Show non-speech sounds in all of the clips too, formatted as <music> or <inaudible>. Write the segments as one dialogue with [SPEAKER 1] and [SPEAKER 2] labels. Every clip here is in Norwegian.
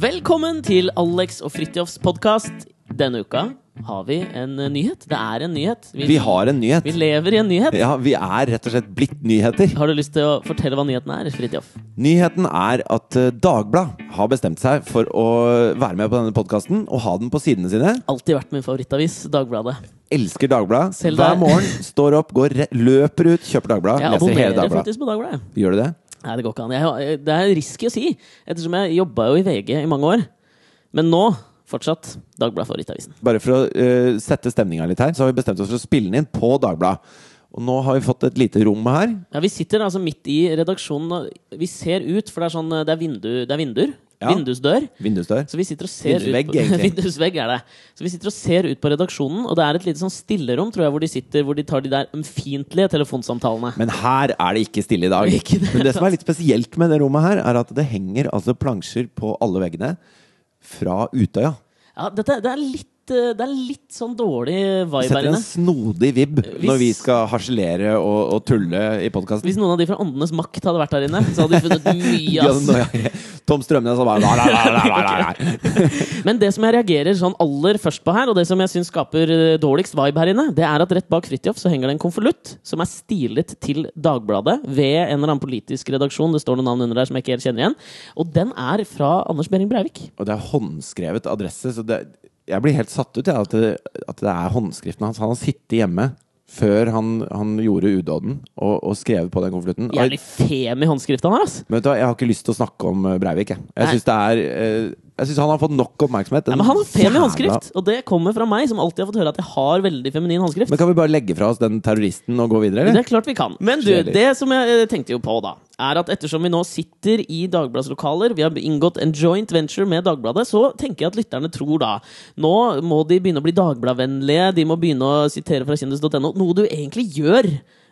[SPEAKER 1] Velkommen til Alex og Fridtjofs podkast. Denne uka har vi en eh, nyhet. Det er en nyhet.
[SPEAKER 2] Vi har en nyhet.
[SPEAKER 1] vi lever i en nyhet.
[SPEAKER 2] Ja, vi er rett og slett blitt nyheter.
[SPEAKER 1] Har du lyst til å fortelle hva nyheten er, Fridtjof?
[SPEAKER 2] Nyheten er at eh, Dagblad har bestemt seg for å være med på denne podkasten og ha den på sidene sine.
[SPEAKER 1] Alltid vært min favorittavis, Dagbladet.
[SPEAKER 2] Elsker Dagbladet.
[SPEAKER 1] Selv
[SPEAKER 2] Hver
[SPEAKER 1] der.
[SPEAKER 2] morgen står opp, går, re- løper ut, kjøper Dagbladet,
[SPEAKER 1] Jeg
[SPEAKER 2] leser hele
[SPEAKER 1] abonnerer
[SPEAKER 2] Dagbladet.
[SPEAKER 1] faktisk på Dagbladet.
[SPEAKER 2] Gjør du det?
[SPEAKER 1] Nei, det går ikke an. Jeg, har- eh, det er risky å si, ettersom jeg jobba jo i VG i mange år. Men nå fortsatt Dagbladet favorittavisen.
[SPEAKER 2] Bare for å eh, sette stemninga litt her, så har vi bestemt oss for å spille den inn på Dagbladet. Og nå har vi fått et lite rom her.
[SPEAKER 1] Ja, Vi sitter altså midt i redaksjonen. og Vi ser ut, for det er sånn eh, Det er, vindu, det er vinduer.
[SPEAKER 2] Ja.
[SPEAKER 1] Vindusdør.
[SPEAKER 2] Vindusdør.
[SPEAKER 1] Så vi sitter og ser ut
[SPEAKER 2] Vindusvegg,
[SPEAKER 1] på, <laughs>
[SPEAKER 2] egentlig.
[SPEAKER 1] Vindusvegg er det. Så vi sitter og ser ut på redaksjonen, og det er et lite sånn stillerom tror jeg, hvor de sitter, hvor de tar de der ømfintlige telefonsamtalene.
[SPEAKER 2] Men her er det ikke stille i dag.
[SPEAKER 1] Ikke det.
[SPEAKER 2] Men det som er litt spesielt med det rommet her, er at det henger altså plansjer på alle veggene fra Utøya.
[SPEAKER 1] Ja, dette, det, er litt, eh, det er litt sånn dårlig vibe her
[SPEAKER 2] setter en
[SPEAKER 1] inne.
[SPEAKER 2] snodig vibb
[SPEAKER 1] Hvis-
[SPEAKER 2] når vi skal harselere og, og tulle i podkasten.
[SPEAKER 1] Hvis noen av de fra Åndenes makt hadde vært her inne, så hadde de funnet
[SPEAKER 2] <laughs>
[SPEAKER 1] mye. ass.
[SPEAKER 2] Tom Strømnes og bare la, la, la, la,
[SPEAKER 1] <laughs>
[SPEAKER 2] la, la, la.
[SPEAKER 1] Men det som jeg reagerer sånn aller først på her, og det som jeg syns skaper eh, dårligst vibe her inne, det er at rett bak Fridtjof så henger det en konvolutt som er stilet til Dagbladet ved en eller annen politisk redaksjon. Det står noen navn under der som jeg ikke helt kjenner igjen. Og den er fra Anders Behring Breivik.
[SPEAKER 2] Og det er håndskrevet adresse, så det, jeg blir helt satt ut, jeg, at, det, at det er håndskriften hans. Han har sittet hjemme før han, han gjorde udåden, og, og skrevet på den konvolutten. Og-
[SPEAKER 1] Jævlig fem i håndskrift han har, ass.
[SPEAKER 2] Men vet du hva, jeg har ikke lyst til å snakke om eh, Breivik, jeg.
[SPEAKER 1] Nei.
[SPEAKER 2] Jeg syns det er eh, Jeg synes han har fått nok oppmerksomhet.
[SPEAKER 1] Nei,
[SPEAKER 2] Den
[SPEAKER 1] men han har fem i
[SPEAKER 2] jævla-
[SPEAKER 1] håndskrift, og det kommer fra meg, som alltid har fått høre at jeg har veldig feminin håndskrift.
[SPEAKER 2] Men kan vi bare legge fra oss den terroristen og gå videre,
[SPEAKER 1] Det
[SPEAKER 2] eller?
[SPEAKER 1] er klart vi kan. Men du,
[SPEAKER 2] Kjedelig.
[SPEAKER 1] det som jeg eh, tenkte jo på da, er at ettersom vi nå sitter i Dagbladets lokaler, vi har inngått en joint venture med Dagbladet, så tenker jeg at lytterne tror da Nå må de begynne å bli Dagbladvennlige, de må begynne å sitere fra kjendis.no, noe du egentlig gjør.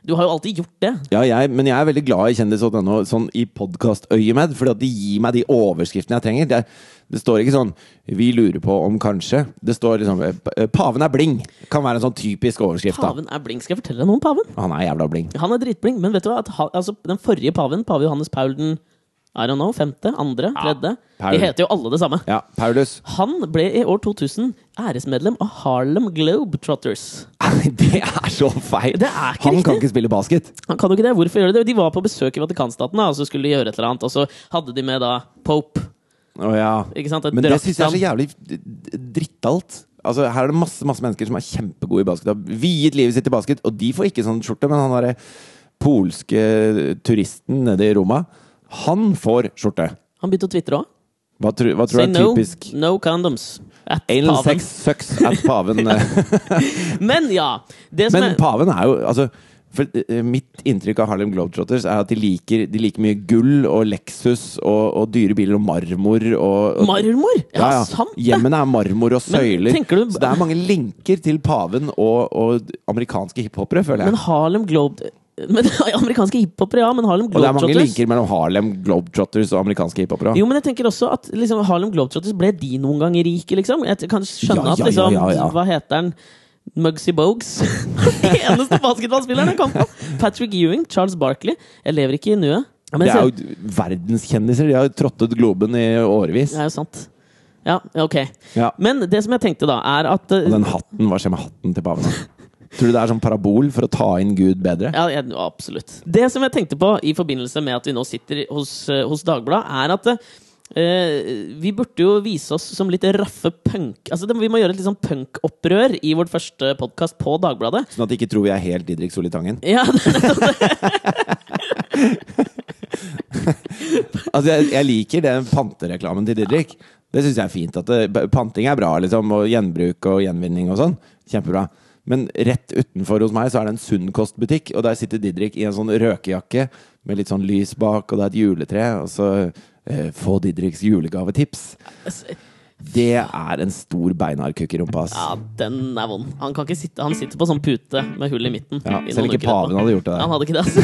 [SPEAKER 1] Du har jo alltid gjort det.
[SPEAKER 2] Ja, jeg, men jeg er veldig glad i kjendis.no sånn i podkastøyemed, fordi at de gir meg de overskriftene jeg trenger. Det, er- det står ikke sånn 'Vi lurer på om kanskje'. Det står liksom eh, pa- eh, 'Paven er bling'. Kan være en sånn typisk overskrift. da
[SPEAKER 1] Paven er blink. Skal jeg fortelle deg noe om paven?
[SPEAKER 2] Han er jævla bling.
[SPEAKER 1] Han er dritblink, men vet du hva? At, ha- altså, den forrige paven, pave Johannes Paul den I don't know, femte, andre, tredje
[SPEAKER 2] Paul.
[SPEAKER 1] De heter jo alle det samme.
[SPEAKER 2] Ja, Paulus. <laughs>
[SPEAKER 1] Han ble i år 2000 æresmedlem av Harlem Globetrotters.
[SPEAKER 2] det er så feil!
[SPEAKER 1] Det er ikke
[SPEAKER 2] han
[SPEAKER 1] riktig.
[SPEAKER 2] kan ikke spille basket.
[SPEAKER 1] Han kan jo ikke det. Hvorfor gjør de det? De var på besøk i Vatikanstaten, da, og så skulle de gjøre et eller annet, og så hadde de med da Pope.
[SPEAKER 2] Å ja.
[SPEAKER 1] Ikke sant? Et
[SPEAKER 2] Men det
[SPEAKER 1] drakt
[SPEAKER 2] syns jeg er så
[SPEAKER 1] navn.
[SPEAKER 2] jævlig d- d- drittalt. Altså, her er det masse masse mennesker som er kjempegode i basket. Har viet livet sitt til basket, og de får ikke sånn skjorte. Men han derre polske turisten nede i Roma, han får skjorte.
[SPEAKER 1] Han begynte å tvitre òg.
[SPEAKER 2] Hva, tru, hva tror
[SPEAKER 1] Say
[SPEAKER 2] du er
[SPEAKER 1] no,
[SPEAKER 2] typisk?
[SPEAKER 1] no condoms. At
[SPEAKER 2] Anal
[SPEAKER 1] paven.
[SPEAKER 2] sex sucks at
[SPEAKER 1] <laughs>
[SPEAKER 2] paven eh,
[SPEAKER 1] Men ja! Det som
[SPEAKER 2] Men
[SPEAKER 1] er,
[SPEAKER 2] paven er jo altså, for, eh, Mitt inntrykk av Harlem Globetrotters er at de liker, de liker mye gull og Lexus og, og dyre biler og marmor. Og, og,
[SPEAKER 1] marmor! Ja, sant det!
[SPEAKER 2] Hjemmene er marmor og søyler.
[SPEAKER 1] tenker du-
[SPEAKER 2] Så det er mange linker til paven og, og amerikanske hiphopere, føler
[SPEAKER 1] Men
[SPEAKER 2] jeg.
[SPEAKER 1] Harlem Globe... Men, <laughs> amerikanske hiphopere, ja, men Harlem
[SPEAKER 2] Og det er mange
[SPEAKER 1] Globetrotters
[SPEAKER 2] linker mellom Harlem Globetrotters og amerikanske hiphopere.
[SPEAKER 1] Jo, men jeg tenker også at liksom, Harlem Globetrotters ble de noen gang rike, liksom. Jeg kan skjønne
[SPEAKER 2] Ja,
[SPEAKER 1] at
[SPEAKER 2] ja,
[SPEAKER 1] liksom,
[SPEAKER 2] ja, ja, ja.
[SPEAKER 1] Hva heter han? Mugsy Bogues. <laughs> Den eneste basketballspilleren jeg kom på! Patrick Ewing, Charles Barkley. Jeg lever ikke i nuet. Men
[SPEAKER 2] Det
[SPEAKER 1] se-
[SPEAKER 2] er jo verdenskjendiser. De har jo trottet globen i årevis.
[SPEAKER 1] Det er jo sant. Ja, ja, ok.
[SPEAKER 2] Ja.
[SPEAKER 1] Men det som jeg tenkte, da, er at eh,
[SPEAKER 2] Og den hatten, hva skjer med hatten
[SPEAKER 1] <laughs>
[SPEAKER 2] til paven? Tror du det er sånn parabol for å ta inn Gud bedre?
[SPEAKER 1] Ja, jeg, absolutt. Det som jeg tenkte på i forbindelse med at vi nå sitter hos, eh, hos Dagbladet, er at eh, vi burde jo vise oss som litt raffe punk... Altså, det, vi må gjøre et litt sånn punkopprør i vårt første podkast på Dagbladet. <laughs>
[SPEAKER 2] Sånn at de ikke tror vi er helt Didrik Solitangen.
[SPEAKER 1] Ja, sånn
[SPEAKER 2] <laughs> Altså, jeg, jeg liker den pantereklamen til Didrik. Det syns jeg er fint. At det, panting er bra, liksom. Og gjenbruk og gjenvinning og sånn. Kjempebra. Men rett utenfor hos meg så er det en Sunnkost-butikk, og der sitter Didrik i en sånn røkejakke med litt sånn lys bak, og det er et juletre, og så eh, Få Didriks julegavetips. Det er en stor beinhardkukk i rumpa,
[SPEAKER 1] ja
[SPEAKER 2] ass.
[SPEAKER 1] den er vond. Han, kan ikke sitte, han sitter på sånn pute med hull i midten.
[SPEAKER 2] Ja,
[SPEAKER 1] i
[SPEAKER 2] selv
[SPEAKER 1] noen uker
[SPEAKER 2] ikke
[SPEAKER 1] etterpå.
[SPEAKER 2] paven hadde gjort det
[SPEAKER 1] Han
[SPEAKER 2] der.
[SPEAKER 1] hadde ikke det, altså.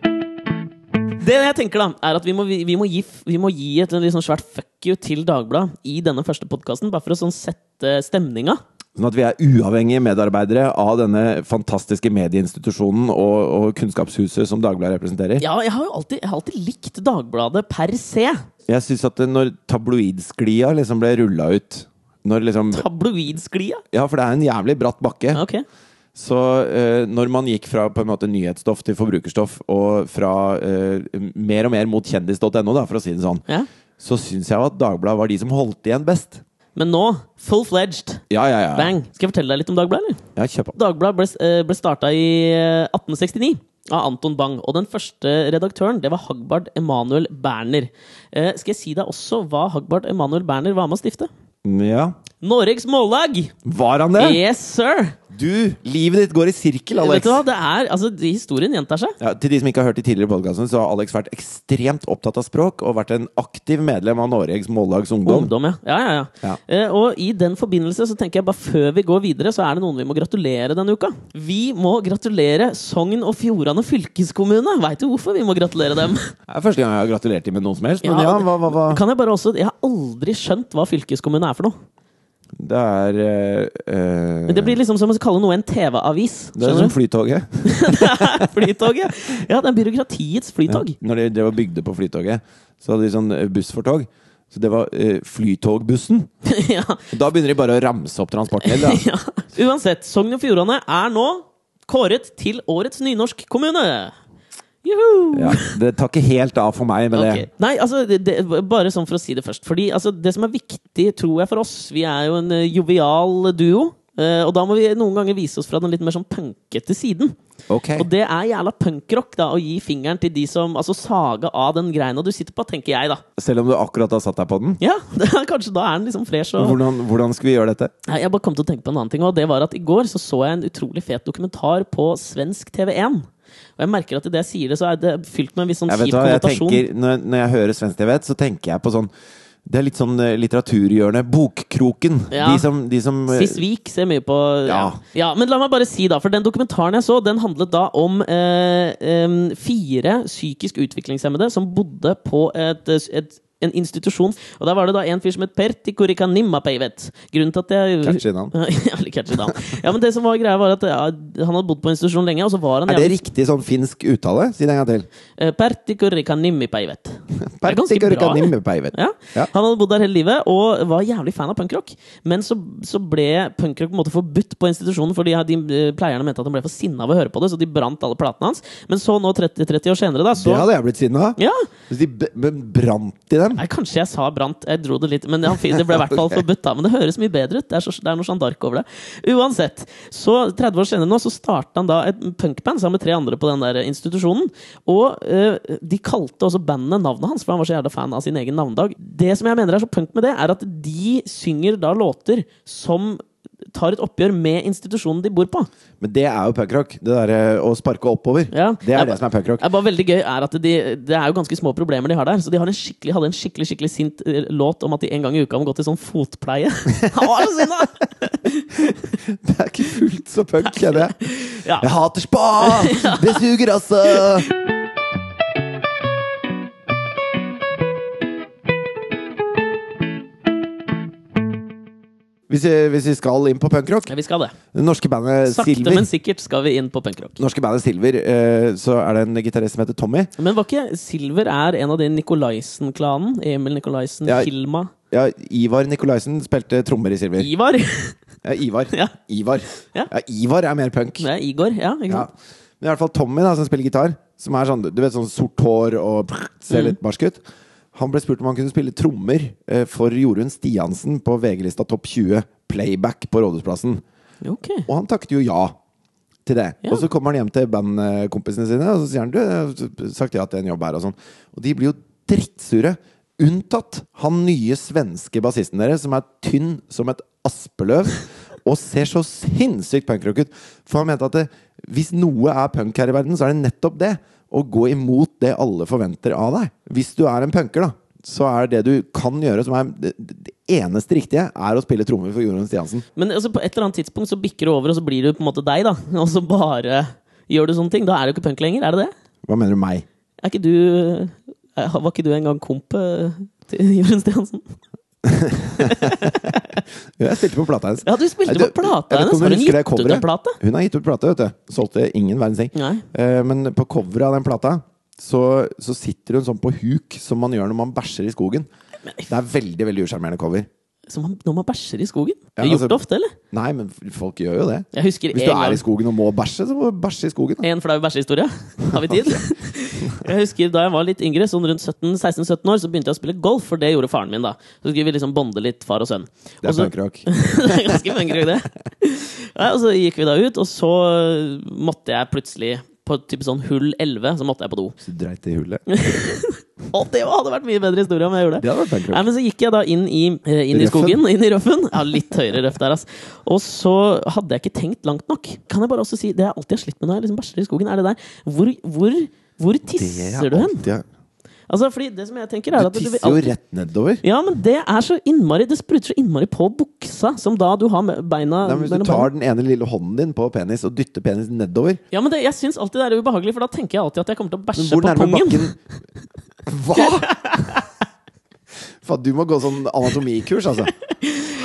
[SPEAKER 1] Det jeg tenker da, er at vi må, vi må, gi, vi må gi et litt sånn svært fuck you til Dagbladet i denne første podkasten, bare for å sånn sette stemninga.
[SPEAKER 2] Sånn at vi er uavhengige medarbeidere av denne fantastiske medieinstitusjonen og, og kunnskapshuset som Dagbladet representerer.
[SPEAKER 1] Ja, jeg har jo alltid, jeg har alltid likt Dagbladet per se.
[SPEAKER 2] Jeg syns at det- når tabloidsklia liksom ble rulla ut når liksom,
[SPEAKER 1] Tabloidsklia.
[SPEAKER 2] Ja, for det er en jævlig bratt bakke.
[SPEAKER 1] Ok.
[SPEAKER 2] Så eh, når man gikk fra på en måte nyhetsstoff til forbrukerstoff, og fra eh, mer og mer mot kjendis.no, da, for å si det sånn,
[SPEAKER 1] Ja.
[SPEAKER 2] så syns jeg jo at Dagbladet var de som holdt igjen best.
[SPEAKER 1] Men nå, full fledged,
[SPEAKER 2] Ja, ja, ja.
[SPEAKER 1] bang. Skal jeg fortelle deg litt om Dagbladet, eller?
[SPEAKER 2] Ja, kjør på.
[SPEAKER 1] Dagbladet ble, eh, ble starta i eh, 1869 av Anton Bang. Og den første redaktøren det var Hagbard Emanuel Berner. Eh, skal jeg si deg også hva Hagbard Emanuel Berner var med å stifte?
[SPEAKER 2] Ja.
[SPEAKER 1] Norges Mållag!
[SPEAKER 2] Var han det?
[SPEAKER 1] Yes, sir!
[SPEAKER 2] Du, livet ditt går i sirkel,
[SPEAKER 1] Vet
[SPEAKER 2] Alex.
[SPEAKER 1] du hva, det er, altså, de- Historien gjentar seg.
[SPEAKER 2] Ja, til de som ikke har hørt de tidligere podkastene, så har Alex vært ekstremt opptatt av språk, og vært en aktiv medlem av Norges Mållags Ungdom.
[SPEAKER 1] Ungdom, ja. ja, ja, ja.
[SPEAKER 2] Ja.
[SPEAKER 1] Eh, og i den forbindelse så tenker jeg bare før vi går videre, så er det noen vi må gratulere denne uka. Vi må gratulere Sogn og Fjordane fylkeskommune. Veit du hvorfor vi må gratulere dem?
[SPEAKER 2] Det er første gang jeg har gratulert dem med noen som helst, men ja,
[SPEAKER 1] Ja,
[SPEAKER 2] hva, hva, hva?
[SPEAKER 1] Kan jeg bare også Jeg har aldri skjønt hva fylkeskommune er for noe.
[SPEAKER 2] Det er eh, eh,
[SPEAKER 1] Men Det blir liksom som å kalle noe en TV-avis.
[SPEAKER 2] det er
[SPEAKER 1] Skjønner
[SPEAKER 2] <laughs> som
[SPEAKER 1] du? <laughs>
[SPEAKER 2] Flytoget.
[SPEAKER 1] Det er Flytoget! Ja, det er byråkratiets flytog.
[SPEAKER 2] Ja. <laughs> Når de drev og bygde på Flytoget, så hadde de sånn eh, buss for tog. Så det var eh, Flytogbussen.
[SPEAKER 1] <laughs> Ja.
[SPEAKER 2] Da begynner de bare å ramse opp transportmiddel.
[SPEAKER 1] <laughs>
[SPEAKER 2] da.
[SPEAKER 1] ja. Uansett, Sogn og Fjordane er nå kåret til årets nynorsk kommune. Juhu!
[SPEAKER 2] Ja, det tar ikke helt av for meg med
[SPEAKER 1] Ok. Nei, altså, det, det, bare sånn for å si det først. Fordi altså, Det som er viktig, tror jeg, for oss Vi er jo en eh, jovial duo. eh, og da må vi noen ganger vise oss fra den litt mer sånn punkete siden.
[SPEAKER 2] det. Ok.
[SPEAKER 1] Og det er jævla punkrock da, å gi fingeren til de som Altså saga av den greina du sitter på, tenker jeg, da.
[SPEAKER 2] Selv om du akkurat har satt deg på den.
[SPEAKER 1] Ja, <laughs> Kanskje da er den liksom fresh og
[SPEAKER 2] Hvordan, hvordan skal vi gjøre dette?
[SPEAKER 1] Nei, Jeg bare kom til å tenke på en annen ting, og det var at i går så, så jeg en utrolig fet dokumentar på svensk TV1. Og jeg merker at i det jeg sier det, så er det fylt med en viss sånn
[SPEAKER 2] Jeg vet
[SPEAKER 1] kjip
[SPEAKER 2] hva, jeg
[SPEAKER 1] konnotasjon.
[SPEAKER 2] tenker, når, når jeg hører svensk TV, så tenker jeg på sånn Det er litt sånn eh, litteraturhjørne. Bokkroken.
[SPEAKER 1] Ja.
[SPEAKER 2] De som, de som eh,
[SPEAKER 1] Sisvik ser mye på ja.
[SPEAKER 2] Ja.
[SPEAKER 1] ja, Men la meg bare si, da, for den dokumentaren jeg så, den handlet da om eh, em, fire psykisk utviklingshemmede som bodde på et, et en institusjon. Og der var det da en fyr som het Pertti Kurikanimapeivet. Grunnen til at jeg
[SPEAKER 2] Catchy navn.
[SPEAKER 1] <laughs> Jævlig catchy navn. Ja, men det som var greia, var at ja, han hadde bodd på en institusjon lenge, og så var han
[SPEAKER 2] Er det riktig sånn finsk uttale? Si det en gang til.
[SPEAKER 1] Eh, Pertti Kurikanimipeivet. Det er ganske
[SPEAKER 2] Pertikor
[SPEAKER 1] bra.
[SPEAKER 2] kanimme peivet.
[SPEAKER 1] Ja.
[SPEAKER 2] Ja.
[SPEAKER 1] Han hadde bodd der hele livet og var jævlig fan av punkrock. Men så, så ble punkrock på en måte forbudt på institusjonen fordi de, eh, pleierne mente at han ble for sinna av å høre på det, så de brant alle platene hans. Men så nå, 30, 30 år senere, da,
[SPEAKER 2] Det
[SPEAKER 1] så
[SPEAKER 2] hadde jeg blitt sinna av.
[SPEAKER 1] ja.
[SPEAKER 2] Hvis de b- men brant i dem.
[SPEAKER 1] Nei, kanskje jeg sa brant. Jeg dro det litt. Men han fyren- det ble i hvert fall forbudt, da. Men det høres mye bedre ut. Det er, så, det er noe Jeanne d'Arc over det. Uansett. Så 30 år senere nå så starta han da et punkband sammen med tre andre på den der institusjonen. Og eh, de kalte også bandet navnet hans, for han var så jævla fan av sin egen navnedag. Det som jeg mener er så punk med det, er at de synger da låter som tar et oppgjør med institusjonen de bor på.
[SPEAKER 2] Men det er jo punkrock. Det derre å sparke oppover.
[SPEAKER 1] Ja.
[SPEAKER 2] Det
[SPEAKER 1] Ja,
[SPEAKER 2] er det som er
[SPEAKER 1] <laughs>
[SPEAKER 2] punkrock.
[SPEAKER 1] Det er bare veldig gøy er at de, Det er jo ganske små problemer de har der. Så de har en skikkelig, hadde en skikkelig skikkelig sint eh, låt om at de en gang i uka må gå til sånn
[SPEAKER 2] <laughs>
[SPEAKER 1] fotpleie. <laughs> Han var jo sinna!
[SPEAKER 2] Det er ikke fullt så punk, kjenner jeg.
[SPEAKER 1] Ja.
[SPEAKER 2] Jeg hater spa! Det suger, altså! Hvis vi, hvis vi skal inn på punkrock
[SPEAKER 1] Ja, vi skal det.
[SPEAKER 2] Det norske bandet
[SPEAKER 1] Sakte,
[SPEAKER 2] Silver,
[SPEAKER 1] men sikkert skal vi inn på punkrock.
[SPEAKER 2] norske bandet Silver eh, så er det en gitarist som heter Tommy.
[SPEAKER 1] Men var ikke Silver er en av de Nikolaisen-klanen? Emil Nikolaisen,
[SPEAKER 2] Ja.
[SPEAKER 1] Hilma
[SPEAKER 2] Ja, Ivar Nikolaisen spilte trommer i Silver.
[SPEAKER 1] Ivar? <laughs>
[SPEAKER 2] Ja, Ivar.
[SPEAKER 1] Ja.
[SPEAKER 2] Ivar.
[SPEAKER 1] Ja.
[SPEAKER 2] Ja, Ivar er mer punk.
[SPEAKER 1] Det er Igor, ja. Ikke
[SPEAKER 2] Ja.
[SPEAKER 1] sant?
[SPEAKER 2] Men i hvert fall Tommy, da, som spiller gitar, som er sånn, du vet, sånn sort hår og prr,
[SPEAKER 1] Mm.
[SPEAKER 2] ser litt barsk ut, han ble spurt om han kunne spille trommer eh, for Jorunn Stiansen på VG-lista Topp 20 Playback på Rådhusplassen.
[SPEAKER 1] Ok.
[SPEAKER 2] Og han takket jo ja til det.
[SPEAKER 1] Ja.
[SPEAKER 2] Og så kommer han hjem til bandkompisene sine, og så sier han du, jeg har sagt ja til en jobb her, og sånn. Og de blir jo drittsure. Unntatt han nye svenske bassisten deres, som er tynn som et aspeløv. Og ser så sinnssykt punkrock ut. For han mente at det, hvis noe er punk her i verden, så er det nettopp det. Å gå imot det alle forventer av deg. Hvis du er en punker, da, så er det du kan gjøre, som er det, det eneste riktige, er å spille trommer for Jorunn Stiansen.
[SPEAKER 1] Men altså, på et eller annet tidspunkt så bikker det over, og så blir du på en måte deg, da. Og så bare gjør du sånne ting. Da er du ikke punk lenger, er det det?
[SPEAKER 2] Hva mener du meg?
[SPEAKER 1] <laughs> Er ikke du eh, Var ikke du engang komp eh, til Jorunn Stiansen?
[SPEAKER 2] Jeg spilte på plata hennes.
[SPEAKER 1] Ja, du spilte
[SPEAKER 2] Nei,
[SPEAKER 1] på plata
[SPEAKER 2] jeg vet ikke
[SPEAKER 1] hennes. Har
[SPEAKER 2] om du
[SPEAKER 1] hun
[SPEAKER 2] husker det
[SPEAKER 1] gitt ut en
[SPEAKER 2] coveret?
[SPEAKER 1] plate?
[SPEAKER 2] Hun har gitt ut plate, vet du. Solgte ingen verdens ting.
[SPEAKER 1] Nei.
[SPEAKER 2] Eh, Men på coveret av den plata så, så sitter hun sånn på huk, som man gjør når man bæsjer i skogen. Det er veldig veldig usjarmerende cover.
[SPEAKER 1] Som man- når man bæsjer i skogen.
[SPEAKER 2] Ja,
[SPEAKER 1] Har du gjort
[SPEAKER 2] altså-
[SPEAKER 1] det ofte, eller?
[SPEAKER 2] Nei, men folk gjør jo det.
[SPEAKER 1] Jeg husker
[SPEAKER 2] Hvis
[SPEAKER 1] en
[SPEAKER 2] du er
[SPEAKER 1] gang.
[SPEAKER 2] i skogen og må bæsje, så må du bæsje i skogen. Da.
[SPEAKER 1] En flau
[SPEAKER 2] <laughs>
[SPEAKER 1] bæsjehistorie. Har vi tid? Jeg husker Da jeg var litt yngre, sånn rundt 17, 16-17 år, så begynte jeg å spille golf, for det gjorde faren min. da Så skulle vi liksom bonde litt, far og sønn. Og
[SPEAKER 2] Det er
[SPEAKER 1] så- <laughs>
[SPEAKER 2] punkrock.
[SPEAKER 1] det er ganske møngrøy, det. Nei, og så gikk vi da ut, og så måtte jeg plutselig på typ sånn hull 11 så måtte jeg på do.
[SPEAKER 2] Så du dreit i
[SPEAKER 1] <laughs>
[SPEAKER 2] hullet.
[SPEAKER 1] Og det hadde vært mye bedre historie om jeg gjorde det.
[SPEAKER 2] Det hadde vært
[SPEAKER 1] Nei,
[SPEAKER 2] punkrock.
[SPEAKER 1] men så gikk jeg da inn i, eh, inn i
[SPEAKER 2] Røffen.
[SPEAKER 1] skogen, inn i røffen. Ja, litt høyere røff der, ass. Og så hadde jeg ikke tenkt langt nok. Kan jeg bare også si, det jeg alltid har slitt med når jeg liksom bæsjer i skogen, er det der Hvor, hvor, hvor tisser du hen?
[SPEAKER 2] alltid
[SPEAKER 1] Altså, fordi det som jeg tenker er
[SPEAKER 2] Du
[SPEAKER 1] at vil
[SPEAKER 2] tisser jo
[SPEAKER 1] alltid-
[SPEAKER 2] rett nedover.
[SPEAKER 1] Ja, men det er så innmari Det spruter så innmari på buksa, som da du har med beina
[SPEAKER 2] Nei, men hvis
[SPEAKER 1] mellom beina.
[SPEAKER 2] du tar den ene lille hånden din på penis og dytter penisen nedover
[SPEAKER 1] Ja, men det, Jeg syns alltid det er ubehagelig, for da tenker jeg alltid at jeg kommer til å
[SPEAKER 2] Men
[SPEAKER 1] bæsje
[SPEAKER 2] hvor
[SPEAKER 1] på
[SPEAKER 2] nærme
[SPEAKER 1] pungen.
[SPEAKER 2] bakken <laughs> Hva?! Faen, du må gå sånn anatomikurs, altså.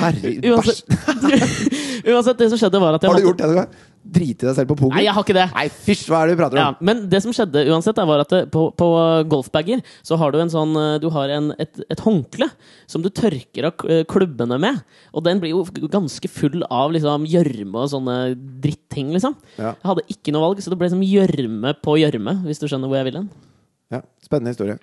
[SPEAKER 2] Herregud.
[SPEAKER 1] Uansett,
[SPEAKER 2] bæsj.
[SPEAKER 1] Uansett, det som skjedde, var at jeg
[SPEAKER 2] Har du
[SPEAKER 1] måtte-
[SPEAKER 2] gjort det noen gang? Drite deg selv på pungen?
[SPEAKER 1] Nei, jeg har ikke det.
[SPEAKER 2] Nei, fysj, hva er det du prater
[SPEAKER 1] Ja,
[SPEAKER 2] om?
[SPEAKER 1] men det som skjedde uansett, da, var at det- på, på golfbager så har du en sånn eh, Du har en, et, et håndkle som du tørker av k- eh, klubbene med. Og den blir jo f- ganske full av liksom gjørme og sånne dritting, liksom.
[SPEAKER 2] Ja.
[SPEAKER 1] Jeg hadde ikke noe valg, så det ble liksom gjørme på gjørme, hvis du skjønner hvor jeg vil hen.
[SPEAKER 2] Ja, spennende historie.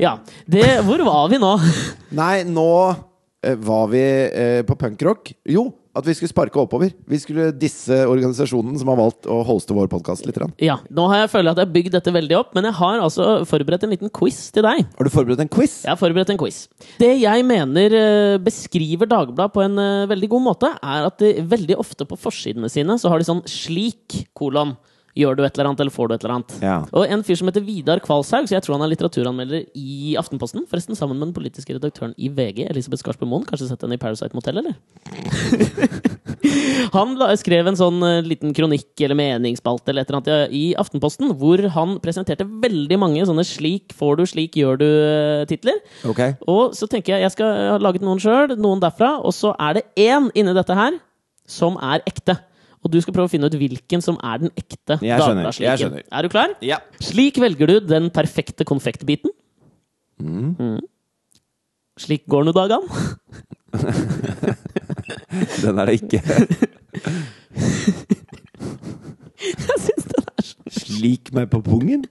[SPEAKER 1] Ja. Det, hvor var vi nå? <laughs>
[SPEAKER 2] Nei, nå eh, var vi eh, på punkrock. Jo, at vi skulle sparke oppover. Vi skulle disse organisasjonen som har valgt å hoste vår podkast litt. grann.
[SPEAKER 1] Ja, Nå har jeg føler jeg at jeg har bygd dette veldig opp, men jeg har altså forberedt en liten quiz til deg.
[SPEAKER 2] Har du forberedt en quiz?
[SPEAKER 1] Jeg har forberedt en quiz. Det jeg mener eh, beskriver Dagbladet på en eh, veldig god måte, er at de veldig ofte på forsidene sine så har de sånn 'slik', kolon. Gjør du et eller annet, eller får du et eller annet?
[SPEAKER 2] Ja.
[SPEAKER 1] Og en fyr som heter Vidar Kvalshaug, så jeg tror han er litteraturanmelder i Aftenposten, forresten sammen med den politiske redaktøren i VG, Elisabeth Skarsbø Moen, kanskje sett henne i Parasite Motel, eller? <laughs> Han la, skrev en sånn eh, liten kronikk eller meningsspalte eller et eller annet i i Aftenposten, hvor han presenterte veldig mange sånne 'slik får du, slik gjør du'-titler.
[SPEAKER 2] Ok.
[SPEAKER 1] Og så tenker jeg jeg skal jeg har laget noen sjøl, noen derfra, og så er det én inni dette her som er ekte. Og du skal prøve å finne ut hvilken som er den ekte
[SPEAKER 2] Jeg skjønner, jeg
[SPEAKER 1] Dagbladsliken.
[SPEAKER 2] skjønner.
[SPEAKER 1] Er du klar?
[SPEAKER 2] Ja.
[SPEAKER 1] Slik velger du den perfekte konfektbiten. Mm. Slik går nå dagene. <laughs>
[SPEAKER 2] Den er det
[SPEAKER 1] <laughs>
[SPEAKER 2] ikke.
[SPEAKER 1] Jeg syns den er så
[SPEAKER 2] Slik meg på pungen?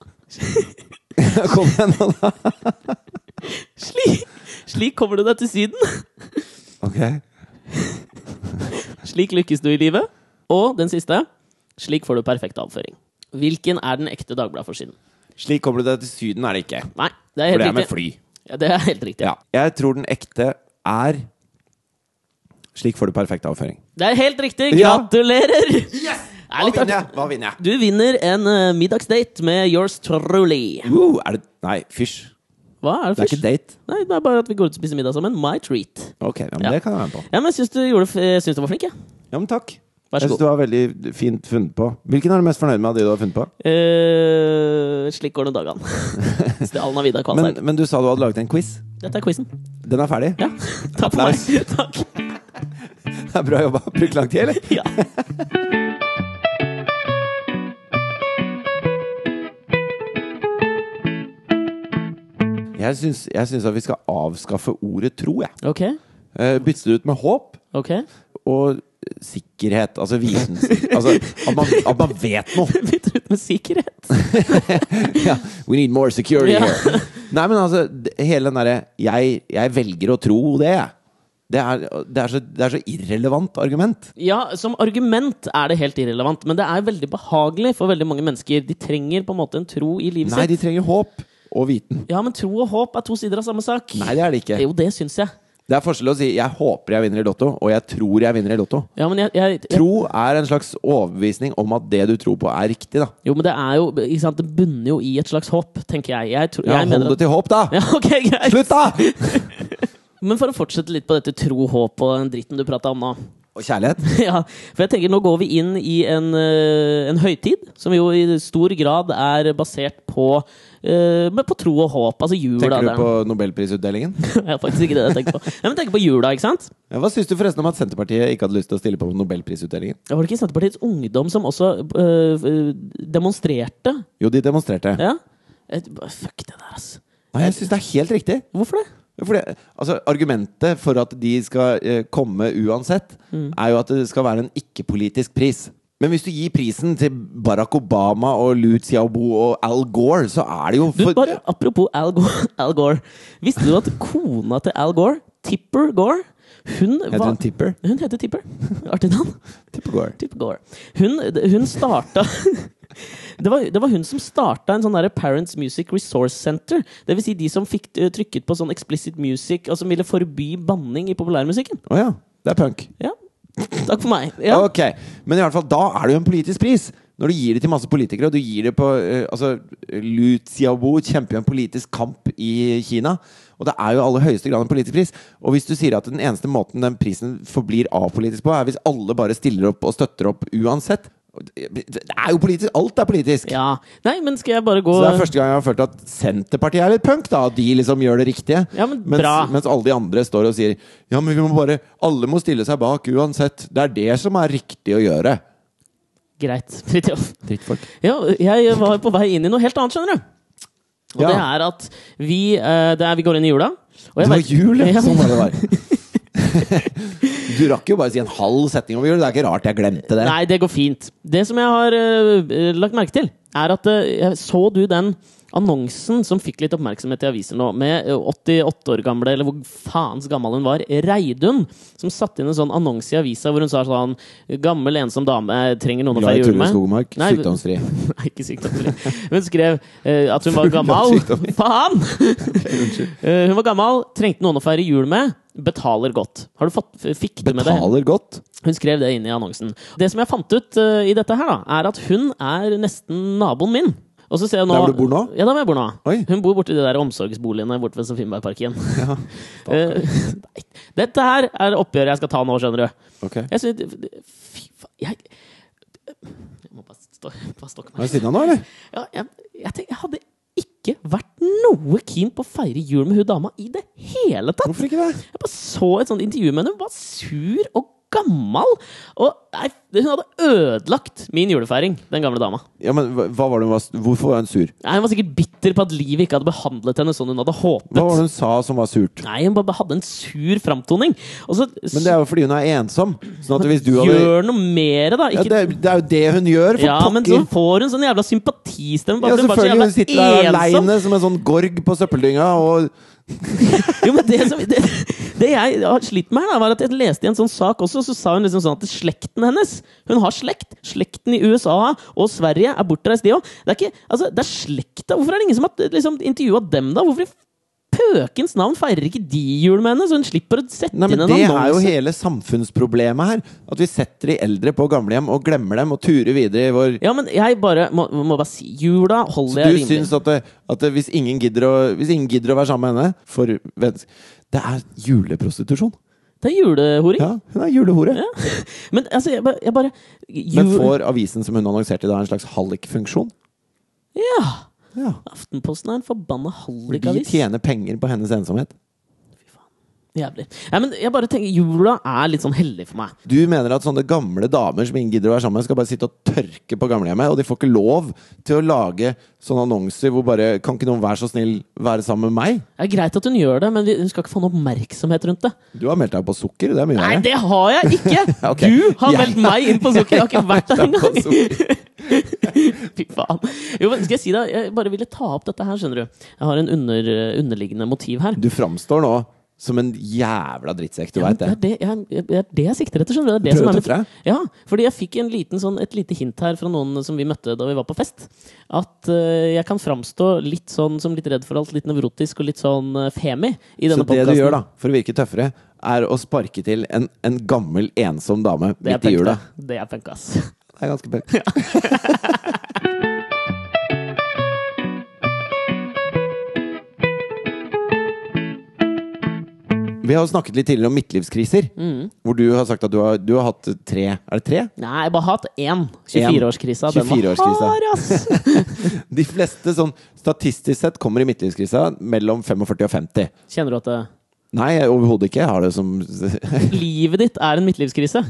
[SPEAKER 2] <laughs> Kom igjen nå, da.
[SPEAKER 1] Slik, slik kommer du deg til Syden.
[SPEAKER 2] Ok.
[SPEAKER 1] Slik lykkes du i livet. Og den siste. Slik får du perfekt avføring. Hvilken er den ekte Dagbladet-forsiden?
[SPEAKER 2] Slik kommer du deg til Syden, er det ikke.
[SPEAKER 1] Nei, det er
[SPEAKER 2] For
[SPEAKER 1] helt
[SPEAKER 2] det er med
[SPEAKER 1] riktig.
[SPEAKER 2] fly.
[SPEAKER 1] Ja, det er helt riktig.
[SPEAKER 2] Ja. Jeg tror den ekte er Slik får du perfekt avføring.
[SPEAKER 1] Det er helt riktig!
[SPEAKER 2] Ja.
[SPEAKER 1] Gratulerer! Det er litt artig.
[SPEAKER 2] jeg? Hva vinner jeg?
[SPEAKER 1] Du vinner en eh, middagsdate med yours truly.
[SPEAKER 2] Uh, er det Nei, fysj.
[SPEAKER 1] Hva er
[SPEAKER 2] Det
[SPEAKER 1] det
[SPEAKER 2] er
[SPEAKER 1] først?
[SPEAKER 2] ikke date.
[SPEAKER 1] Nei, det er bare at vi går ut og spiser middag sammen. My treat.
[SPEAKER 2] Ok, ja, men
[SPEAKER 1] Ja.
[SPEAKER 2] Det kan jeg være med på.
[SPEAKER 1] Ja, men jeg syns du, gjorde f- jeg syns du var flink, jeg.
[SPEAKER 2] Ja, men takk.
[SPEAKER 1] Vær så
[SPEAKER 2] Jeg syns
[SPEAKER 1] god.
[SPEAKER 2] du var veldig fint funnet på. Hvilken er du mest fornøyd med av de du har funnet på?
[SPEAKER 1] Eh, slik går det <laughs> dagene. Stjalen av Vidar
[SPEAKER 2] Men,
[SPEAKER 1] Kvalsheim.
[SPEAKER 2] men du sa du hadde laget en quiz.
[SPEAKER 1] Dette er quizen.
[SPEAKER 2] Den er ferdig?
[SPEAKER 1] Ja. Takk for meg. <laughs> Takk.
[SPEAKER 2] Det er bra jobba. Brukt lang tid, eller?
[SPEAKER 1] Ja.
[SPEAKER 2] Jeg syns, jeg syns at vi skal avskaffe ordet tro, jeg.
[SPEAKER 1] Ok.
[SPEAKER 2] Eh, bytte det ut med håp
[SPEAKER 1] <laughs> Ok.
[SPEAKER 2] og sikkerhet. Altså vitens... altså at man, at man vet noe!
[SPEAKER 1] Bytter ut med sikkerhet.
[SPEAKER 2] Ja, We need more security
[SPEAKER 1] Ja.
[SPEAKER 2] here. Nei, men altså, d- hele den derre jeg, 'jeg velger å tro det', jeg. Det er, det, er så, det er så irrelevant argument.
[SPEAKER 1] Ja, som argument er det helt irrelevant, men det er veldig behagelig for veldig mange mennesker. De trenger på en måte en tro i livet
[SPEAKER 2] Nei,
[SPEAKER 1] sitt.
[SPEAKER 2] de trenger håp og viten.
[SPEAKER 1] Ja, men tro og håp er to sider av samme sak.
[SPEAKER 2] Nei, det er det ikke.
[SPEAKER 1] Jo, det syns jeg.
[SPEAKER 2] Det er forskjell å si 'jeg håper jeg vinner i Lotto', og 'jeg tror jeg vinner i Lotto'.
[SPEAKER 1] Ja, men jeg, jeg, jeg
[SPEAKER 2] Tro er en slags overbevisning om at det du tror på, er riktig, da.
[SPEAKER 1] Jo, men det er jo ikke sant, Det bunner jo i et slags håp, tenker jeg. jeg, tror,
[SPEAKER 2] Ja,
[SPEAKER 1] jeg
[SPEAKER 2] hold
[SPEAKER 1] mener
[SPEAKER 2] det til håp, da!
[SPEAKER 1] <laughs> ja, ok, greit.
[SPEAKER 2] Slutt, da!
[SPEAKER 1] Men for å fortsette litt på dette tro, håp og den dritten du prata om nå.
[SPEAKER 2] Og kjærlighet.
[SPEAKER 1] <laughs> Ja, for jeg tenker nå går vi inn i en, eh, en høytid, som jo i stor grad er basert på, eh, men på tro og håp. Altså jula.
[SPEAKER 2] Tenker
[SPEAKER 1] det
[SPEAKER 2] du
[SPEAKER 1] er-
[SPEAKER 2] på nobelprisutdelingen?
[SPEAKER 1] <laughs> Jeg har faktisk ikke det jeg tenker på. Nei, men tenker på jula, ikke sant?
[SPEAKER 2] Ja, hva syns du forresten om at Senterpartiet ikke hadde lyst til å stille på nobelprisutdelingen?
[SPEAKER 1] Var det ikke Senterpartiets ungdom som også øh, øh, demonstrerte?
[SPEAKER 2] Jo, de demonstrerte.
[SPEAKER 1] Ja? Et, bare, fuck det der, ass.
[SPEAKER 2] Nei, jeg syns det er helt riktig.
[SPEAKER 1] Hvorfor det?
[SPEAKER 2] Fordi, altså, argumentet for at de skal eh, komme uansett,
[SPEAKER 1] Mm.
[SPEAKER 2] er jo at det skal være en ikke-politisk pris. Men hvis du gir prisen til Barack Obama og Liu Xiaobo og Al Gore, så er det jo
[SPEAKER 1] Du,
[SPEAKER 2] for
[SPEAKER 1] bare, apropos Al Gore, <laughs> Al Gore. Visste du at kona til Al Gore, Tipper Gore hun
[SPEAKER 2] Heter
[SPEAKER 1] var-
[SPEAKER 2] hun Tipper?
[SPEAKER 1] Hun heter Tipper. Artig navn.
[SPEAKER 2] Tipper Gore.
[SPEAKER 1] Tipper Gore. Hun, hun starta <laughs> det var, det var hun som starta en sånn derre Parents Music Resource Center. Det vil si de som fikk eh, trykket på sånn explicit music, og som ville forby banning i populærmusikken.
[SPEAKER 2] Å ja. Det er punk.
[SPEAKER 1] Ja. Takk for meg. Ja.
[SPEAKER 2] Ok, Men i alle fall, da er det jo en politisk pris. Når du gir det til masse politikere, og du gir det på eh, altså, Liu Xiaobo kjemper jo en politisk kamp i Kina. Og det er jo i aller høyeste grad en politisk pris. Og hvis du sier at den eneste måten den prisen forblir apolitisk på, er hvis alle bare stiller opp og støtter opp uansett. Og Det det er jo politisk! Alt er politisk!
[SPEAKER 1] ja. Nei, men skal jeg bare gå
[SPEAKER 2] Så det er første gang jeg har følt at Senterpartiet er litt punk, da. At de liksom gjør det riktige.
[SPEAKER 1] Ja, men
[SPEAKER 2] mens,
[SPEAKER 1] bra.
[SPEAKER 2] mens alle de andre står og sier Ja, men vi må bare Alle må stille seg bak uansett. Det er det som er riktig å gjøre.
[SPEAKER 1] Greit, <laughs> Fridtjof.
[SPEAKER 2] Drittfolk.
[SPEAKER 1] Ja, jeg var på vei inn i noe helt annet, skjønner du. Og
[SPEAKER 2] Ja.
[SPEAKER 1] det er at vi, eh, det er, vi går inn i jula. Og
[SPEAKER 2] Det
[SPEAKER 1] jeg
[SPEAKER 2] var
[SPEAKER 1] vet-
[SPEAKER 2] jul,
[SPEAKER 1] <laughs>
[SPEAKER 2] ja.
[SPEAKER 1] Ja.
[SPEAKER 2] Sånn var det var. <laughs> Du rakk jo bare si en halv setning om jul. Det er ikke rart jeg glemte det.
[SPEAKER 1] Nei, det går fint. Det som jeg har eh, lagt merke til, er at eh, jeg- Så du den annonsen som fikk litt oppmerksomhet i aviser nå, med eh, 88 år gamle, eller hvor faens gammel hun var, Reidun, som satte inn en sånn annonse i avisa hvor hun sa sånn Gammel, ensom dame, eh, trenger noen å
[SPEAKER 2] Glad i
[SPEAKER 1] feire jul
[SPEAKER 2] Turid
[SPEAKER 1] med.
[SPEAKER 2] Skogmark.
[SPEAKER 1] Nei, <laughs>
[SPEAKER 2] Sykdomsfri.
[SPEAKER 1] Nei, ikke sykdomsfri. Hun skrev eh, at hun
[SPEAKER 2] <laughs>
[SPEAKER 1] var
[SPEAKER 2] Full av
[SPEAKER 1] gammel.
[SPEAKER 2] sykdommer.
[SPEAKER 1] <laughs> Faen! Eh, hun var gammel, trengte noen å feire jul med. Betaler godt. Har du fått, fikk du med det?
[SPEAKER 2] Betaler godt.
[SPEAKER 1] Hun skrev det inn i annonsen. Det som jeg fant ut eh, i dette her, da, er at hun er nesten naboen min. Og så ser jeg nå,
[SPEAKER 2] Der hvor du bor nå?
[SPEAKER 1] Ja, der hvor jeg bor nå.
[SPEAKER 2] Oi.
[SPEAKER 1] Hun bor borti de der omsorgsboligene borte ved Sofienbergparken. <laughs> Eh, nei, Dette her er oppgjøret jeg skal ta nå, skjønner du.
[SPEAKER 2] Ok.
[SPEAKER 1] Jeg synes, Fy faen jeg, jeg må bare stå- bare stokke
[SPEAKER 2] Er
[SPEAKER 1] meg.
[SPEAKER 2] det siden av nå, eller?
[SPEAKER 1] Ja, jeg, jeg, tenk, jeg hadde ikke vært noe keen på å feire jul med hun dama i det hele tatt!
[SPEAKER 2] Hvorfor ikke det?
[SPEAKER 1] Jeg bare så et sånt intervju med henne. Hun var sur og gammel. Og nei, hun hadde ødelagt min julefeiring, den gamle dama.
[SPEAKER 2] Ja, men hva hva var det hun var Hvorfor var hun sur?
[SPEAKER 1] Nei, hun var sikkert bitter på at livet ikke hadde behandlet henne sånn hun hadde håpet.
[SPEAKER 2] Hva var det hun sa som var surt?
[SPEAKER 1] Nei, hun bare hadde en sur framtoning. Og så
[SPEAKER 2] Men det er jo fordi hun er ensom. Sånn at hvis du hadde
[SPEAKER 1] gjør noe mer, da.
[SPEAKER 2] ja,
[SPEAKER 1] Ikke,
[SPEAKER 2] det,
[SPEAKER 1] ja,
[SPEAKER 2] er- det er jo det hun gjør, for
[SPEAKER 1] men så
[SPEAKER 2] pokker!
[SPEAKER 1] får hun sånn jævla sympatistemme.
[SPEAKER 2] Ja,
[SPEAKER 1] bare for
[SPEAKER 2] selvfølgelig. Hun
[SPEAKER 1] Hun
[SPEAKER 2] sitter der
[SPEAKER 1] var så jævla ensom.
[SPEAKER 2] aleine som en sånn gorg på søppeldynga og
[SPEAKER 1] Jo, men det, som, det, det jeg har slitt med her, da, var at jeg leste i en sånn sak også, så sa hun liksom sånn at slekten hennes Hun har slekt. Slekten i USA og Sverige er bortreist, de òg. Det er ikke, altså, det er slekta. Hvorfor er det ingen som har liksom, intervjua dem, da? Hvorfor i pøkens navn feirer ikke de jul med henne, så hun slipper å sette
[SPEAKER 2] Nei, men
[SPEAKER 1] inn en
[SPEAKER 2] Det er jo
[SPEAKER 1] annonse?
[SPEAKER 2] hele samfunnsproblemet her. At vi setter de eldre på gamlehjem og glemmer dem og turer videre i vår
[SPEAKER 1] Ja, men jeg bare må, må bare si Jula
[SPEAKER 2] Så
[SPEAKER 1] holder jeg
[SPEAKER 2] du
[SPEAKER 1] rimelig.
[SPEAKER 2] syns at, det, at det, hvis, ingen gidder å, hvis ingen gidder å være sammen med henne for venns- Det er juleprostitusjon!
[SPEAKER 1] Det er julehoring.
[SPEAKER 2] Ja, hun er julehore.
[SPEAKER 1] Ja. <laughs> Men altså, jeg, bare- jeg bare
[SPEAKER 2] Men
[SPEAKER 1] jul-
[SPEAKER 2] får avisen som hun annonserte i dag, en slags hallikfunksjon?
[SPEAKER 1] Ja!
[SPEAKER 2] Ja.
[SPEAKER 1] Aftenposten er en forbanna
[SPEAKER 2] De
[SPEAKER 1] hallikavis.
[SPEAKER 2] tjener penger på hennes ensomhet.
[SPEAKER 1] Jævlig. Nei, men jeg bare tenker, Jula er litt sånn hellig for meg.
[SPEAKER 2] Du mener at sånne gamle damer som ingen gidder å være sammen med, skal bare sitte og tørke på gamlehjemmet, og de får ikke lov til å lage sånne annonser hvor bare Kan ikke noen være så snill være sammen med meg?
[SPEAKER 1] Det er greit at hun gjør det, men vi- hun skal ikke få noe oppmerksomhet rundt det.
[SPEAKER 2] Du har meldt deg på sukker, det er mye
[SPEAKER 1] Nei,
[SPEAKER 2] verre.
[SPEAKER 1] det har jeg ikke!
[SPEAKER 2] <laughs> Ok.
[SPEAKER 1] Du har
[SPEAKER 2] Jeg-
[SPEAKER 1] meldt meg inn på sukker! Jeg har ikke vært der
[SPEAKER 2] På
[SPEAKER 1] engang!
[SPEAKER 2] sukker.
[SPEAKER 1] <laughs> Fy faen. Jo, men skal jeg si det? Jeg bare ville ta opp dette her, skjønner du. Jeg har en under, underliggende motiv her.
[SPEAKER 2] Du framstår nå som en jævla drittsekk, du
[SPEAKER 1] Ja, men
[SPEAKER 2] veit
[SPEAKER 1] det
[SPEAKER 2] det.
[SPEAKER 1] er det jeg, jeg- det er det jeg sikter etter, skjønner du. Det er det
[SPEAKER 2] Du
[SPEAKER 1] som er
[SPEAKER 2] prøver å
[SPEAKER 1] mitt
[SPEAKER 2] tøffe deg?
[SPEAKER 1] Ja, fordi jeg fikk en liten, sånn, et lite hint her fra noen som vi møtte da vi var på fest. At eh, jeg kan framstå litt sånn som litt redd for alt, litt nevrotisk og litt sånn eh, femi i
[SPEAKER 2] Så
[SPEAKER 1] denne
[SPEAKER 2] det du
[SPEAKER 1] podcasten.
[SPEAKER 2] gjør, da, for å virke tøffere, er å sparke til en, en gammel, ensom dame
[SPEAKER 1] Det er
[SPEAKER 2] midt i
[SPEAKER 1] punk,
[SPEAKER 2] jula.
[SPEAKER 1] det. Det er punk, ass.
[SPEAKER 2] Det er ganske pent. <laughs> Vi har jo snakket litt tidligere om midtlivskriser.
[SPEAKER 1] Mm.
[SPEAKER 2] Hvor du har sagt at du har, du har hatt tre Er det tre?
[SPEAKER 1] Nei, jeg har bare hatt én. 24-årskrisa. Den var
[SPEAKER 2] 24-årskrisa.
[SPEAKER 1] hard,
[SPEAKER 2] <laughs>
[SPEAKER 1] ass!
[SPEAKER 2] De fleste sånn statistisk sett kommer i midtlivskrisa mellom 45 og 50.
[SPEAKER 1] Kjenner du at det,
[SPEAKER 2] Nei, overhodet ikke. Jeg har det som <laughs>
[SPEAKER 1] livet ditt er en midtlivskrise?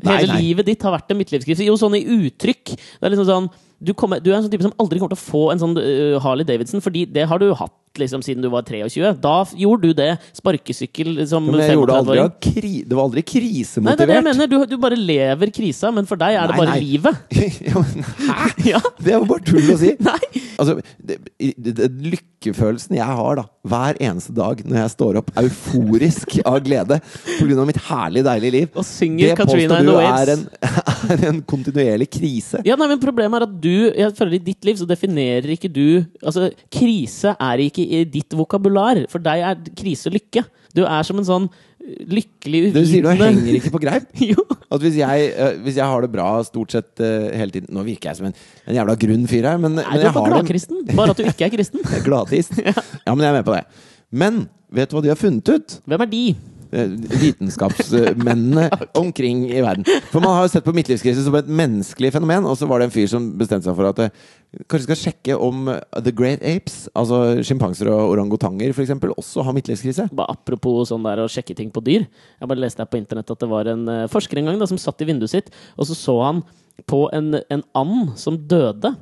[SPEAKER 2] Nei,
[SPEAKER 1] Hele
[SPEAKER 2] nei.
[SPEAKER 1] livet ditt har vært en midtlivskrise. Jo, sånn i uttrykk. Det er liksom sånn Du, kommer, du er en sånn type som aldri kommer til å få en sånn øh, Harley Davidson, fordi det har du hatt. Liksom, siden du var 23. Da f- gjorde du det. Sparkesykkel som
[SPEAKER 2] Men jeg gjorde
[SPEAKER 1] 35-åring.
[SPEAKER 2] aldri av kri, Det var aldri
[SPEAKER 1] Nei, det er det jeg
[SPEAKER 2] krisemotivert.
[SPEAKER 1] mener. Du, du bare lever krisa, men for deg er det
[SPEAKER 2] Nei,
[SPEAKER 1] bare
[SPEAKER 2] nei.
[SPEAKER 1] livet.
[SPEAKER 2] <laughs> Ja, men Hæ?
[SPEAKER 1] <laughs> Ja,
[SPEAKER 2] Det er jo bare tull å si.
[SPEAKER 1] nei
[SPEAKER 2] Altså, det, i- det, det, lykkefølelsen jeg har da hver eneste dag når jeg står opp euforisk av glede pga. mitt herlig, deilige liv
[SPEAKER 1] Og synger Katrina
[SPEAKER 2] påstår
[SPEAKER 1] and
[SPEAKER 2] du
[SPEAKER 1] the
[SPEAKER 2] er
[SPEAKER 1] Waves.
[SPEAKER 2] en, <laughs> er en kontinuerlig krise.
[SPEAKER 1] Ja, nei, men Problemet er at du jeg føler i ditt liv så definerer ikke du Altså, Krise er ikke i ditt vokabular. For deg er krise lykke. Du er som en sånn lykkelig
[SPEAKER 2] Du sier det
[SPEAKER 1] uvitende
[SPEAKER 2] henger ikke på greip.
[SPEAKER 1] <laughs> Jo.
[SPEAKER 2] At hvis jeg, eh, hvis jeg har det bra stort sett eh, hele tiden Nå virker jeg som en, en jævla grunn fyr her, men,
[SPEAKER 1] Nei,
[SPEAKER 2] men
[SPEAKER 1] du
[SPEAKER 2] jeg
[SPEAKER 1] er bare
[SPEAKER 2] har det
[SPEAKER 1] gladkristen. Bare at du ikke er kristen.
[SPEAKER 2] Jeg er
[SPEAKER 1] <laughs>
[SPEAKER 2] gladtist. Ja, men jeg er med på det. Men vet du hva de har funnet ut?
[SPEAKER 1] Hvem er de?
[SPEAKER 2] Eh,
[SPEAKER 1] <laughs>
[SPEAKER 2] Vitenskapsmennene omkring i verden. For man har jo sett på midtlivskrise som et menneskelig fenomen, og så var det en fyr som bestemte seg for at eh, kanskje skal sjekke om eh, the great apes, altså sjimpanser og orangutanger f.eks., også har midtlivskrise.
[SPEAKER 1] Bare apropos sånn der å sjekke ting på dyr. Jeg bare leste her på internett at det var en eh, forsker en gang da, som satt i vinduet sitt, og så så han på en, en and som døde.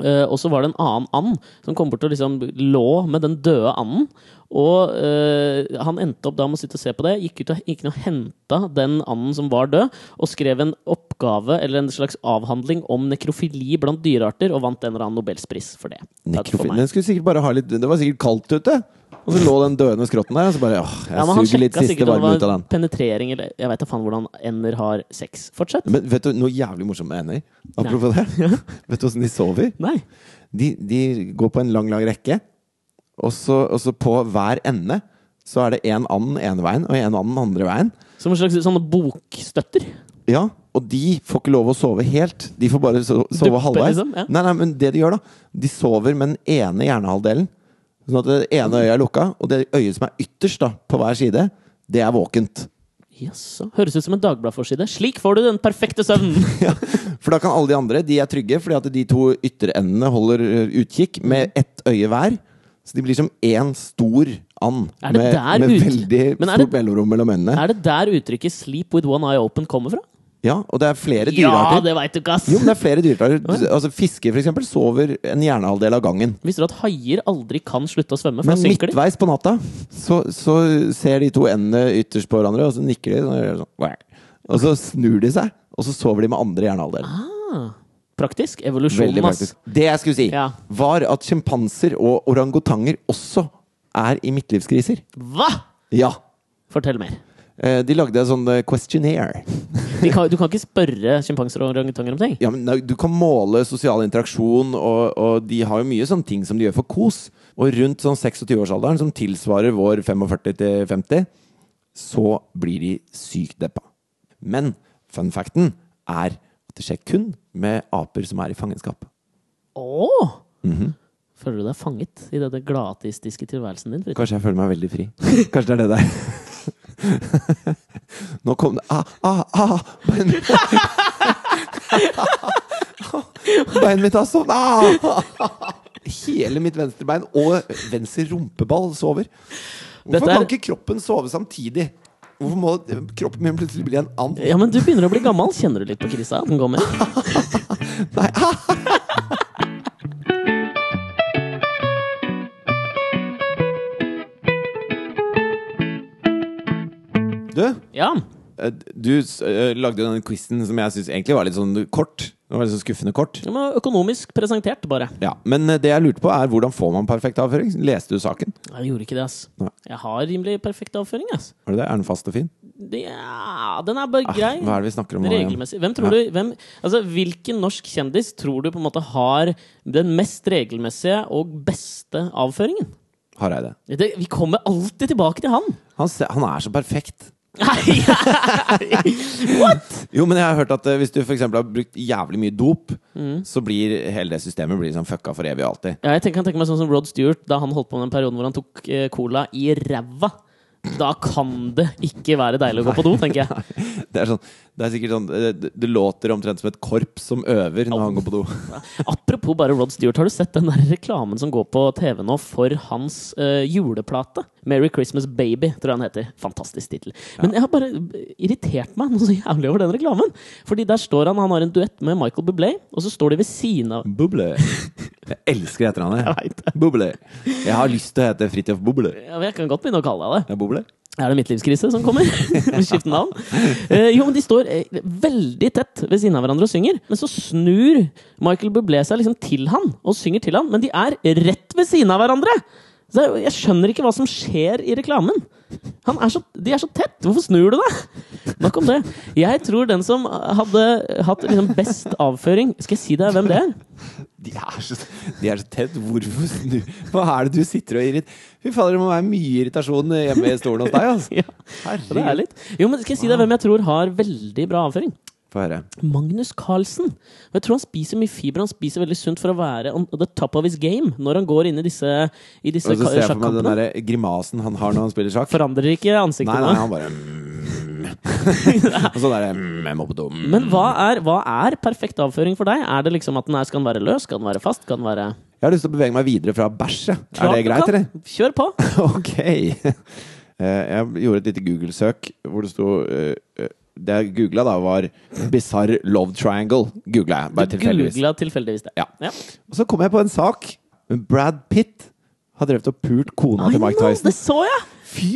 [SPEAKER 1] Eh, og så var det en annen and som kom bort og liksom lå med den døde anden. Og eh, han endte opp da med å sitte og se på det, gikk ut og, gikk ned og henta den anden som var død, og skrev en oppgave eller en slags avhandling om nekrofili blant dyrearter, og vant en eller annen nobelspris for det. Takk for
[SPEAKER 2] Nekrofil.
[SPEAKER 1] meg.
[SPEAKER 2] Den skulle sikkert bare ha litt Det var sikkert kaldt ute. Og så lå den dødende skrotten der, og så bare åh, jeg
[SPEAKER 1] Ja, men han
[SPEAKER 2] suger litt
[SPEAKER 1] sjekka
[SPEAKER 2] siste
[SPEAKER 1] sikkert om
[SPEAKER 2] varme ut
[SPEAKER 1] det
[SPEAKER 2] av
[SPEAKER 1] var
[SPEAKER 2] den.
[SPEAKER 1] penetrering eller Jeg veit da faen hvordan ender har sex. Fortsett.
[SPEAKER 2] Men vet du noe jævlig morsomt med ender? Apropos det. <laughs> Vet du åssen de sover?
[SPEAKER 1] Nei.
[SPEAKER 2] De, de går på en lang, lang rekke, og så, og så på hver ende så er det én and ene veien og én and andre veien.
[SPEAKER 1] Som en slags sånne bokstøtter.
[SPEAKER 2] Ja, og de får ikke lov å sove helt. De får bare so sove
[SPEAKER 1] Duppe,
[SPEAKER 2] halvveis.
[SPEAKER 1] liksom, ja.
[SPEAKER 2] Nei, nei, men det de gjør, da De sover med den ene hjernehalvdelen. Sånn at det ene øyet er lukka, og det øyet som er ytterst da, på hver side, det er våkent.
[SPEAKER 1] Jaså. Høres ut som en Dagbladet-forside. Slik får du den perfekte søvnen!
[SPEAKER 2] <laughs> Ja, for da kan alle de andre De er trygge, fordi at de to ytterendene holder eh, utkikk med
[SPEAKER 1] Mm.
[SPEAKER 2] ett øye hver. Så de blir som én stor and
[SPEAKER 1] Er det
[SPEAKER 2] med,
[SPEAKER 1] der
[SPEAKER 2] med
[SPEAKER 1] ut-
[SPEAKER 2] veldig
[SPEAKER 1] Men er
[SPEAKER 2] stort
[SPEAKER 1] det-
[SPEAKER 2] mellomrom mellom øynene.
[SPEAKER 1] Er det der uttrykket 'sleep with one eye open' kommer fra?
[SPEAKER 2] Ja, og det er flere
[SPEAKER 1] Ja,
[SPEAKER 2] dyrearter.
[SPEAKER 1] det veit du ikke, ass!
[SPEAKER 2] Jo, men det er flere dyrearter. Altså, Fisker, for eksempel, sover en hjernehalvdel av gangen.
[SPEAKER 1] Visste du at haier aldri kan slutte å svømme? For da
[SPEAKER 2] Men
[SPEAKER 1] synker de.
[SPEAKER 2] midtveis på natta så, så ser de to endene ytterst på hverandre, og så nikker de. Sånn, og gjør sånn, «Wah». og så snur de seg, og så sover de med andre hjernehalvdel.
[SPEAKER 1] Ah, praktisk.
[SPEAKER 2] Veldig
[SPEAKER 1] Evolusjonen, ass.
[SPEAKER 2] praktisk. Det jeg skulle si,
[SPEAKER 1] Ja.
[SPEAKER 2] var at sjimpanser og orangutanger også er i midtlivskriser.
[SPEAKER 1] Hva?!
[SPEAKER 2] Ja.
[SPEAKER 1] Fortell mer.
[SPEAKER 2] Eh, De lagde en sånn eh, questionnaire.
[SPEAKER 1] De kan, du kan ikke spørre sjimpanser og orangutanger om
[SPEAKER 2] <laughs>
[SPEAKER 1] ting.
[SPEAKER 2] Ja, men nei, du kan måle sosial interaksjon, og, og de har jo mye sånne ting som de gjør for kos. Og rundt sånn 26-årsalderen, som tilsvarer vår 45-50, så blir de sykt deppa. Men fun facten er at det skjer kun med aper som er i fangenskap.
[SPEAKER 1] Åh!
[SPEAKER 2] Mhm.
[SPEAKER 1] Føler du deg fanget i denne gladatistiske tilværelsen din? Fritz?
[SPEAKER 2] Kanskje jeg føler meg veldig fri. <laughs> Kanskje det er det der. <laughs> Nå kom det ah, ah, ah, Beinet mitt <laughs> Beinet mitt har sovnet! Ah, Hele mitt venstre bein og venstre rumpeball sover.
[SPEAKER 1] Dette
[SPEAKER 2] Hvorfor
[SPEAKER 1] er-
[SPEAKER 2] kan ikke kroppen sove samtidig? Hvorfor må kroppen min plutselig bli en and?
[SPEAKER 1] Ja, men du begynner å bli gammel. Kjenner du litt på krisa? at Den går med.
[SPEAKER 2] Nei, ah! Du?
[SPEAKER 1] Ja.
[SPEAKER 2] Eh, Du s- eh, lagde jo den quizen som jeg syns egentlig var litt sånn kort. Den var litt sånn skuffende kort.
[SPEAKER 1] ja men økonomisk presentert, bare.
[SPEAKER 2] Ja, Men eh, det jeg lurte på, er hvordan får man perfekt avføring? Leste du saken?
[SPEAKER 1] Jeg gjorde ikke det, ass.
[SPEAKER 2] Nei.
[SPEAKER 1] Jeg har rimelig perfekt avføring, ass.
[SPEAKER 2] Var det det? Er den fast og fin?
[SPEAKER 1] Det- Ja, den er bare
[SPEAKER 2] Ah,
[SPEAKER 1] grei.
[SPEAKER 2] Hva er det vi snakker om nå? igjen?
[SPEAKER 1] Regelmessig. Hvem tror du, hvem, altså, hvilken norsk kjendis tror du på en måte har den mest regelmessige og beste avføringen?
[SPEAKER 2] Hareide.
[SPEAKER 1] Det, vi kommer alltid tilbake til han!
[SPEAKER 2] Han, se- han er så perfekt.
[SPEAKER 1] <laughs> Nei,
[SPEAKER 2] Jo, men jeg har hørt at eh, hvis du f.eks. har brukt jævlig mye dop,
[SPEAKER 1] Mm.
[SPEAKER 2] så blir hele det systemet blir sånn fucka for evig og alltid. <laughs>
[SPEAKER 1] Ja, jeg tenker, kan tenke meg sånn som Rod Stewart da han holdt på med den perioden hvor han tok eh, cola i ræva. Da kan det ikke være deilig å gå på do, tenker jeg.
[SPEAKER 2] Det er, sånn, det er sikkert sånn eh, Det det låter omtrent som et korps som øver når han går
[SPEAKER 1] <laughs>
[SPEAKER 2] på do.
[SPEAKER 1] Apropos bare Rod Stewart, har du sett den der reklamen som går på TV nå for hans eh, juleplate? 'Merry Christmas Baby', tror jeg den heter. Fantastisk tittel. Men jeg har bare irritert meg noe så jævlig over den reklamen. Fordi der står han, han har en duett med Michael Bublé, og så står de ved siden av
[SPEAKER 2] Buble. Jeg elsker etternavnet.
[SPEAKER 1] Jeg vet det.
[SPEAKER 2] Buble. Jeg har lyst til å hete Fridtjof Buble.
[SPEAKER 1] Ja, men Jeg kan godt begynne å kalle deg det.
[SPEAKER 2] Ja, Buble.
[SPEAKER 1] Er det midtlivskrise som kommer? Skifte navn? Eh, jo, men de står eh, veldig tett ved siden av hverandre og synger. Men så snur Michael Bublé seg liksom til han og synger til han, men de er rett ved siden av hverandre! Så jeg- jeg skjønner ikke hva som skjer i reklamen. Han er så, de er så tett! Hvorfor snur du deg? Nok om det. Jeg tror den som hadde hatt liksom best avføring Skal jeg si deg hvem det er?
[SPEAKER 2] De er så, de er så tett. Hvorfor snu? Hva er det du sitter og irriterer Fy fader, det må være mye irritasjon hjemme i stolen hos deg. Altså.
[SPEAKER 1] <laughs> Ja, det er
[SPEAKER 2] Herregud.
[SPEAKER 1] litt. Jo, men skal jeg si deg hvem jeg tror har veldig bra avføring?
[SPEAKER 2] Få høre.
[SPEAKER 1] Magnus Carlsen. Og jeg tror han spiser mye fiber. Han spiser veldig sunt for å være on the top of his game når han går inn i disse, i disse
[SPEAKER 2] Og så
[SPEAKER 1] ka-
[SPEAKER 2] ser jeg for meg den
[SPEAKER 1] sjakkampene.
[SPEAKER 2] der grimasen han har når han spiller sjakk.
[SPEAKER 1] Forandrer ikke
[SPEAKER 2] Nei,
[SPEAKER 1] ansiktet
[SPEAKER 2] nei,
[SPEAKER 1] nå.
[SPEAKER 2] han bare mm.
[SPEAKER 1] <laughs>
[SPEAKER 2] Og så der mm, Jeg må på do. Mm.
[SPEAKER 1] Men hva er, hva er perfekt avføring for deg? Er det liksom at den er, Skal den være løs? Skal den være fast? Skal den være
[SPEAKER 2] Jeg har lyst til å bevege meg videre fra bæsj. ja. Er
[SPEAKER 1] Klart
[SPEAKER 2] det
[SPEAKER 1] du
[SPEAKER 2] greit,
[SPEAKER 1] kan.
[SPEAKER 2] eller? <laughs>
[SPEAKER 1] Kjør på!
[SPEAKER 2] Ok. Eh, Jeg gjorde et lite Google-søk hvor det sto eh, eh, Det jeg googla, da, var 'Bizarre love triangle'. Googla jeg, bare
[SPEAKER 1] Du
[SPEAKER 2] tilfeldigvis.
[SPEAKER 1] googla tilfeldigvis det.
[SPEAKER 2] Ja.
[SPEAKER 1] Ja.
[SPEAKER 2] Og så kom jeg på en sak. Brad Pitt har drevet og pult kona
[SPEAKER 1] I
[SPEAKER 2] til Mike
[SPEAKER 1] know,
[SPEAKER 2] Tyson.
[SPEAKER 1] Det så jeg!
[SPEAKER 2] Fy,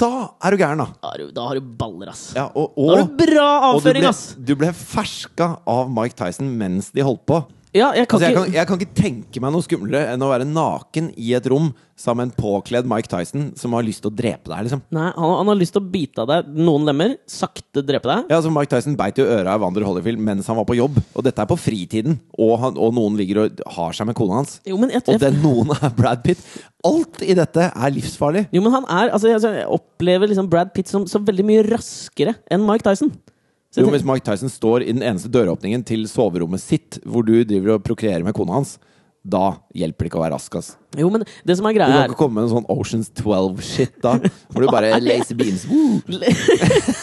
[SPEAKER 2] da er du gæren, da!
[SPEAKER 1] Da har du- Da har du baller, ass.
[SPEAKER 2] Ja, og,
[SPEAKER 1] Da har du
[SPEAKER 2] og,
[SPEAKER 1] bra
[SPEAKER 2] og du,
[SPEAKER 1] avføring,
[SPEAKER 2] ble,
[SPEAKER 1] ass!
[SPEAKER 2] du ble ferska av Mike Tyson mens de holdt på.
[SPEAKER 1] Ja, jeg kan
[SPEAKER 2] Altså, jeg,
[SPEAKER 1] ikke
[SPEAKER 2] kan, jeg kan ikke tenke meg noe skumlere enn å være naken i et rom sammen med en påkledd Mike Tyson som har lyst til å drepe deg. liksom
[SPEAKER 1] Nei, han, han har lyst til å bite av deg noen lemmer, sakte drepe deg.
[SPEAKER 2] Ja, altså Mike Tyson beit jo øra av Wander Holyfield mens han var på jobb. Og dette er på fritiden. Og, han, og noen ligger og har seg med kona hans.
[SPEAKER 1] Jo, men jeg,
[SPEAKER 2] Og
[SPEAKER 1] jeg,
[SPEAKER 2] den noen er Brad Pitt. Alt i dette er livsfarlig.
[SPEAKER 1] Jo, men han er altså, jeg, jeg opplever liksom Brad Pitt som så veldig mye raskere enn Mike Tyson. Så
[SPEAKER 2] Jo,
[SPEAKER 1] jeg
[SPEAKER 2] Hvis Mike Tyson står i den eneste døråpningen til soverommet sitt, hvor du driver og prokreerer med kona hans, da hjelper det ikke å være rask. ass
[SPEAKER 1] tenker- jo, men det som er
[SPEAKER 2] Du
[SPEAKER 1] greia,
[SPEAKER 2] kan
[SPEAKER 1] er
[SPEAKER 2] ikke komme med en sånn Oceans 12-shit da, hvor du bare laser beams. woo.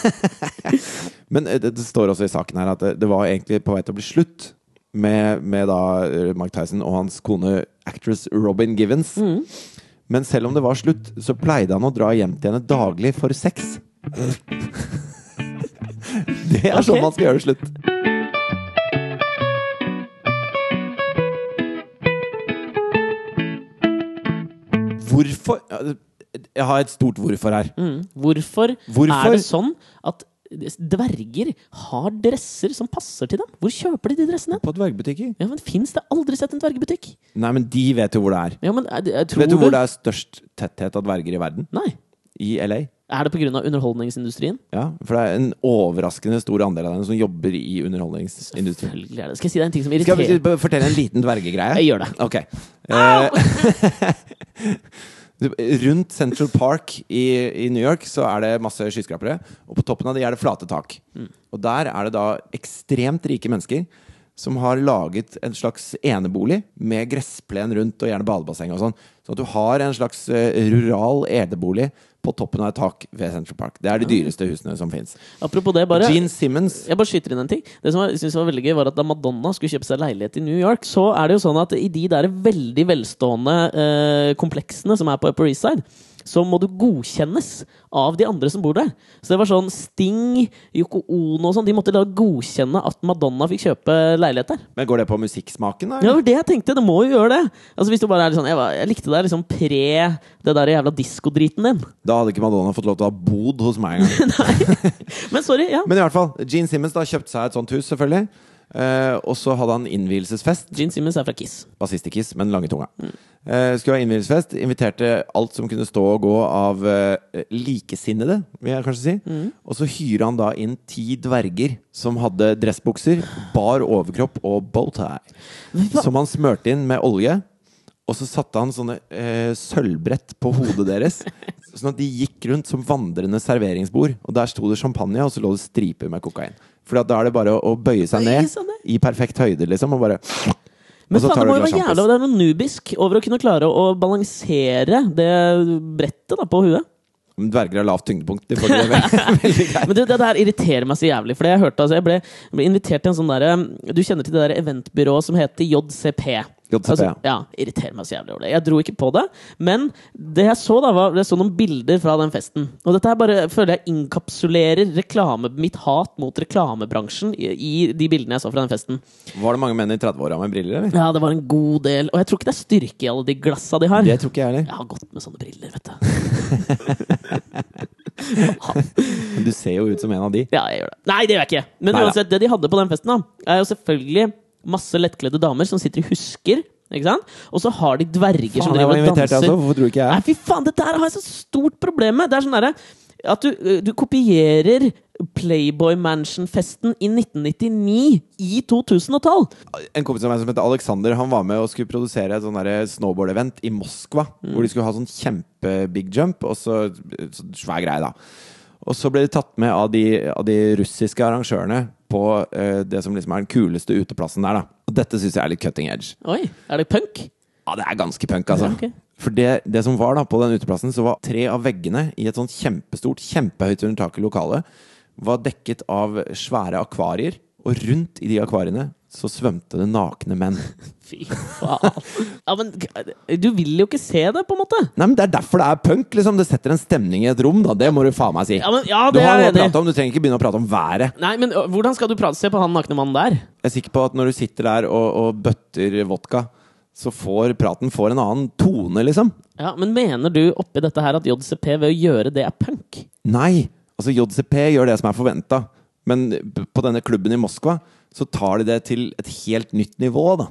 [SPEAKER 2] <laughs> Men eh, det, det står også i saken her at det, det var egentlig på vei til å bli slutt med, med da eh, Mike Tyson og hans kone actress Robin Givens. Men selv om det var slutt, så pleide han å dra hjem til henne daglig for sex. <laughs> Det er
[SPEAKER 1] Ok.
[SPEAKER 2] sånn man skal gjøre det slutt. Hvorfor Jeg har et stort hvorfor her.
[SPEAKER 1] mm, hvorfor,
[SPEAKER 2] Hvorfor?
[SPEAKER 1] er det sånn at dverger har dresser som passer til dem? Hvor kjøper de de dressene?
[SPEAKER 2] På dvergbutikker?
[SPEAKER 1] Ja, men Fins det aldri sett en dvergebutikk?
[SPEAKER 2] Nei, men de vet jo hvor det er.
[SPEAKER 1] Ja, men eh, jeg, jeg tror
[SPEAKER 2] Vet du hvor det er størst tetthet av dverger i verden?
[SPEAKER 1] Nei.
[SPEAKER 2] I LA.
[SPEAKER 1] Er det pga. underholdningsindustrien?
[SPEAKER 2] Ja, For det er en overraskende stor andel av dem som jobber i underholdningsindustrien.
[SPEAKER 1] Selvfølgelig er det. Skal jeg si deg en ting som
[SPEAKER 2] Skal
[SPEAKER 1] irriterer
[SPEAKER 2] jeg b- fortelle en liten dvergegreie?
[SPEAKER 1] Jeg gjør det.
[SPEAKER 2] Ok. Eh, <laughs> Rundt Central Park i, i New York så er det masse skyskrapere, og på toppen av de er det flate tak.
[SPEAKER 1] Mm.
[SPEAKER 2] Og der er det da ekstremt rike mennesker som har laget en slags enebolig med gressplen rundt og gjerne badebasseng og sånn. Sånn at du har en slags eh, rural enebolig på toppen av et tak ved Central Park. Det er de dyreste husene som fins.
[SPEAKER 1] Apropos det, bare
[SPEAKER 2] Gene Simmons
[SPEAKER 1] Jeg bare skyter inn en ting. Det som jeg synes var veldig gøy, var at da Madonna skulle kjøpe seg leilighet i New York, så er det jo sånn at i de der veldig velstående eh, kompleksene som er på Upper East Side, så må du godkjennes av de andre som bor der. Så det var sånn Sting, Yoko Ono og sånn, de måtte da godkjenne at Madonna fikk kjøpe leilighet der.
[SPEAKER 2] Men går det på musikksmaken, da?
[SPEAKER 1] Ja, det var det jeg tenkte! Det må jo gjøre det! Altså Hvis du bare er litt sånn Jeg, var, jeg likte deg liksom pre det der jævla diskodriten din.
[SPEAKER 2] Da hadde ikke Madonna fått lov til å ha bod hos meg engang.
[SPEAKER 1] Men sorry, ja.
[SPEAKER 2] Men i hvert fall, Gene Simmons da kjøpte seg et sånt hus, selvfølgelig. Eh, og så hadde han innvielsesfest.
[SPEAKER 1] Gene Simmons er fra Kiss.
[SPEAKER 2] Bassist i Kiss, men lange tunga. Eh, skulle ha innvielsesfest. Inviterte alt som kunne stå og gå av eh, likesinnede, vil jeg kanskje si.
[SPEAKER 1] Mm.
[SPEAKER 2] Og så hyrer han da inn ti dverger som hadde dressbukser, bar overkropp og bowtie. Som han smurte inn med olje. Og så satte han sånne eh, sølvbrett på hodet deres. <laughs> Sånn at de gikk rundt som vandrende serveringsbord. Og der sto det champagne, og så lå det striper med kokain. For da er det bare å, å bøye seg
[SPEAKER 1] Bøye
[SPEAKER 2] ned
[SPEAKER 1] seg ned.
[SPEAKER 2] i perfekt høyde, liksom. Og bare
[SPEAKER 1] Men
[SPEAKER 2] Og så
[SPEAKER 1] faen, det
[SPEAKER 2] tar du
[SPEAKER 1] må
[SPEAKER 2] et
[SPEAKER 1] jo være
[SPEAKER 2] glass
[SPEAKER 1] jævla Det er noe nubisk over å kunne klare å balansere det brettet da på huet.
[SPEAKER 2] Men Dverger har lavt tyngdepunkt. De får det veldig, veldig greit.
[SPEAKER 1] Men du, det der irriterer meg så jævlig. Fordi jeg hørte altså, jeg ble, jeg ble invitert til en sånn derre Du kjenner til det der eventbyrået som heter JCP?
[SPEAKER 2] JCP,
[SPEAKER 1] altså, ja. Irriterer meg så jævlig over det. Jeg dro ikke på det, men det jeg så da, var jeg så noen bilder fra den festen. Og dette her bare føler jeg inkapsulerer reklame, mitt hat mot reklamebransjen i, i de bildene jeg så fra den
[SPEAKER 2] <laughs>
[SPEAKER 1] festen.
[SPEAKER 2] Var det mange menn i 30-åra med briller, eller?
[SPEAKER 1] Ja, det var en god del. Og jeg tror ikke det er styrke i alle de glassa de har.
[SPEAKER 2] Det tror ikke jeg heller.
[SPEAKER 1] Jeg har gått med sånne briller, vet du.
[SPEAKER 2] Men du ser jo ut som en av de.
[SPEAKER 1] Ja, jeg gjør det. Nei, det gjør jeg ikke! Men
[SPEAKER 2] Neida.
[SPEAKER 1] uansett, det de hadde på den festen, da, er jo selvfølgelig masse lettkledde damer som sitter i husker. Ikke sant? Og så har de dverger som
[SPEAKER 2] Faen, jeg
[SPEAKER 1] driver og
[SPEAKER 2] var invitert,
[SPEAKER 1] danser.
[SPEAKER 2] jeg også. Hvorfor dro ikke
[SPEAKER 1] Nei,
[SPEAKER 2] jeg?
[SPEAKER 1] fy faen, det der har jeg så stort problem med! Det er sånn derre at du, du kopierer Playboy Mansion-festen i 1999 i 2012!
[SPEAKER 2] En kompis av meg som heter Alexander, han var med og skulle produsere et sånn derre snowboard-event i Moskva. Hvor de skulle ha sånn kjempe-big jump, og så, eh, så svær greie, da. Og så ble de tatt med av de, av de russiske arrangørene på eh, det som liksom er den kuleste uteplassen der, da. Og dette syns jeg er litt cutting edge.
[SPEAKER 1] Oi, er det punk?
[SPEAKER 2] Ja, det er ganske punk, altså.
[SPEAKER 1] Ja, ok.
[SPEAKER 2] For det, det som var da på den uteplassen, så var tre av veggene i et sånt kjempestort, kjempehøyt under taket lokale, var dekket av svære akvarier. Og rundt i de akvariene så svømte det nakne menn.
[SPEAKER 1] Fy faen. Ja, men du vil jo ikke se det, på en måte!
[SPEAKER 2] Nei, men Det er derfor det er punk. liksom Det setter en stemning i et rom. da Det må du faen meg si.
[SPEAKER 1] Ja, men, ja
[SPEAKER 2] du
[SPEAKER 1] det
[SPEAKER 2] har
[SPEAKER 1] er jeg
[SPEAKER 2] noe å
[SPEAKER 1] enig i.
[SPEAKER 2] prate om, du trenger ikke begynne å prate om været.
[SPEAKER 1] Nei, men ø, hvordan skal du prate? Se på han nakne mannen der.
[SPEAKER 2] Jeg er sikker på at når du sitter der og, og bøtter vodka, så får praten får en annen tone, liksom.
[SPEAKER 1] Ja, Men mener du oppi dette her at JCP ved å gjøre det er punk?
[SPEAKER 2] Nei! Altså, JCP gjør det som er forventa. Men b- på denne klubben i Moskva så tar de det til et helt nytt nivå, da.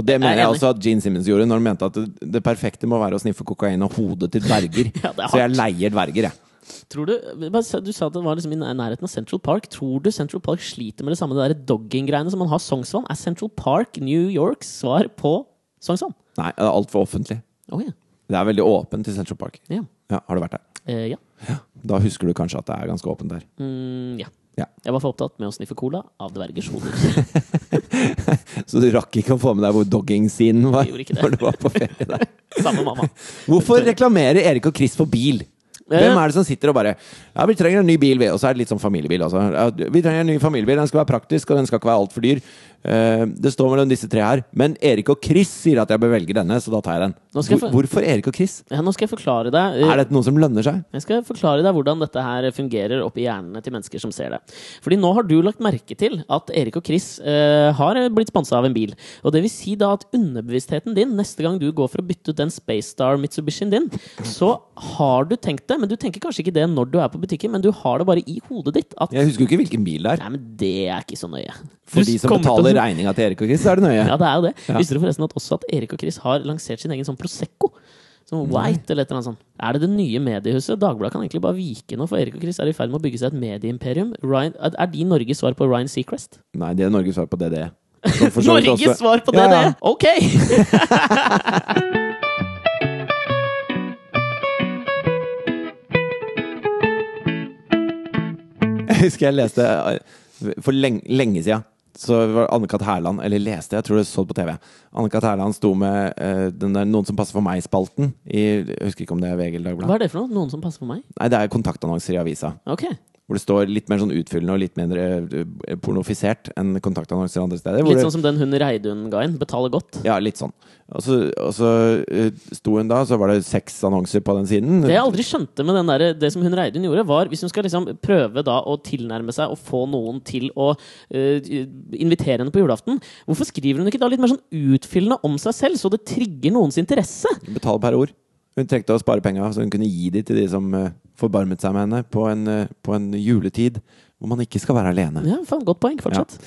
[SPEAKER 2] Og det mener
[SPEAKER 1] Jeg er
[SPEAKER 2] jeg
[SPEAKER 1] enig.
[SPEAKER 2] også at Gene Simmons gjorde når han mente at det, det perfekte må være å sniffe kokain av hodet til dverger.
[SPEAKER 1] <laughs> Ja, det er
[SPEAKER 2] så jeg leier dverger, jeg.
[SPEAKER 1] Tror Du bare sa- du sa at det var liksom i nær- nærheten av Central Park. Tror du Central Park sliter med det samme det der dogging-greiene som man har Sognsvann? Er Central Park New Yorks svar på Sognsvann?
[SPEAKER 2] Nei, det er altfor offentlig.
[SPEAKER 1] Å Oh, ja.
[SPEAKER 2] Det er veldig åpent i Central Park.
[SPEAKER 1] Ja.
[SPEAKER 2] Ja, Har du vært der?
[SPEAKER 1] Eh, ja.
[SPEAKER 2] Da husker du kanskje at det er ganske åpent der.
[SPEAKER 1] Mm, ja.
[SPEAKER 2] Ja.
[SPEAKER 1] Jeg var for opptatt med å sniffe cola av dvergers hoder.
[SPEAKER 2] Så du rakk ikke å få med deg hvor dogging-scenen var?
[SPEAKER 1] Jeg gjorde ikke det.
[SPEAKER 2] <laughs> Når du var på ferie der.
[SPEAKER 1] Samme <laughs> mamma.
[SPEAKER 2] Hvorfor reklamerer Erik og Chris for bil? Hvem er det som sitter og bare Ja, vi trenger en ny bil, vi. Og så er det litt sånn familiebil, altså. Ja, vi trenger en ny familiebil. Den skal være praktisk, og den skal ikke være altfor dyr. Eh, det står mellom disse tre her. Men Erik og Chris sier at jeg bør velge denne, så da tar jeg den.
[SPEAKER 1] Nå skal jeg
[SPEAKER 2] Hvor-
[SPEAKER 1] få-
[SPEAKER 2] Hvorfor Erik og Chris?
[SPEAKER 1] Ja, nå skal jeg forklare deg. eh,
[SPEAKER 2] Er dette noe som lønner seg?
[SPEAKER 1] Jeg skal forklare deg hvordan dette her fungerer oppi hjernene til mennesker som ser det. Fordi nå har du lagt merke til at Erik og Chris eh, har blitt sponsa av en bil. Og det vil si da at underbevisstheten din, neste gang du går for å bytte ut den Space Star Mitsubishien din, så har du tenkt det, men du tenker kanskje ikke det når du er på butikken, men du har det bare i hodet ditt at
[SPEAKER 2] Jeg husker jo ikke hvilken bil det er.
[SPEAKER 1] Nei, men det er ikke så nøye.
[SPEAKER 2] For
[SPEAKER 1] Du
[SPEAKER 2] de som
[SPEAKER 1] kommer til å-
[SPEAKER 2] betaler regninga til Erik og Chris, så er det nøye.
[SPEAKER 1] <laughs> Ja, det er jo det. Visste du forresten at også at Erik og Chris har lansert sin egen sånn Prosecco? Som White eller et eller annet sånt. Er det det nye mediehuset? Dagbladet kan egentlig bare vike nå, for Erik og Chris er i ferd med å bygge seg et medieimperium. Ryan, er er de Norges svar på Ryan Seacrest?
[SPEAKER 2] Nei, det er Norges svar på DDE. Som for
[SPEAKER 1] <laughs>
[SPEAKER 2] så vidt
[SPEAKER 1] Norges
[SPEAKER 2] også-
[SPEAKER 1] svar på E. det,
[SPEAKER 2] Ja, ja.
[SPEAKER 1] det! Ok! <laughs>
[SPEAKER 2] Jeg husker jeg leste eh, for lenge, lenge siden. Så var Anne-Kat. Hærland Eller leste, jeg tror det så det på TV. Anne-Kat. Hærland sto med eh, den der 'Noen som passer for meg'-spalten. I, jeg husker ikke om det er VG eller
[SPEAKER 1] Hva
[SPEAKER 2] Dagbladet.
[SPEAKER 1] er det for noe? Noen som passer på meg?
[SPEAKER 2] Nei, det er kontaktannonser i avisa.
[SPEAKER 1] Ok.
[SPEAKER 2] Hvor det står litt mer sånn utfyllende og litt mindre eh, pornofisert enn kontaktannonser andre steder. Hvor
[SPEAKER 1] Litt
[SPEAKER 2] det-
[SPEAKER 1] sånn som den hun Reidun ga inn. Betaler godt.
[SPEAKER 2] Ja, litt sånn. Og så, og så eh, sto hun da, så var det seks annonser på den siden.
[SPEAKER 1] Det jeg aldri skjønte med den der, det som hun Reidun gjorde, var hvis hun skal liksom prøve da å tilnærme seg og få noen til å eh, invitere henne på julaften, hvorfor skriver hun ikke da litt mer sånn utfyllende om seg selv, så det trigger noens interesse?
[SPEAKER 2] Betale per ord. Hun trengte å spare penga, så hun kunne gi de til de som eh, forbarmet seg med henne på en, eh, på en juletid hvor man ikke skal være alene.
[SPEAKER 1] Ja, faen, Godt poeng. Fortsett.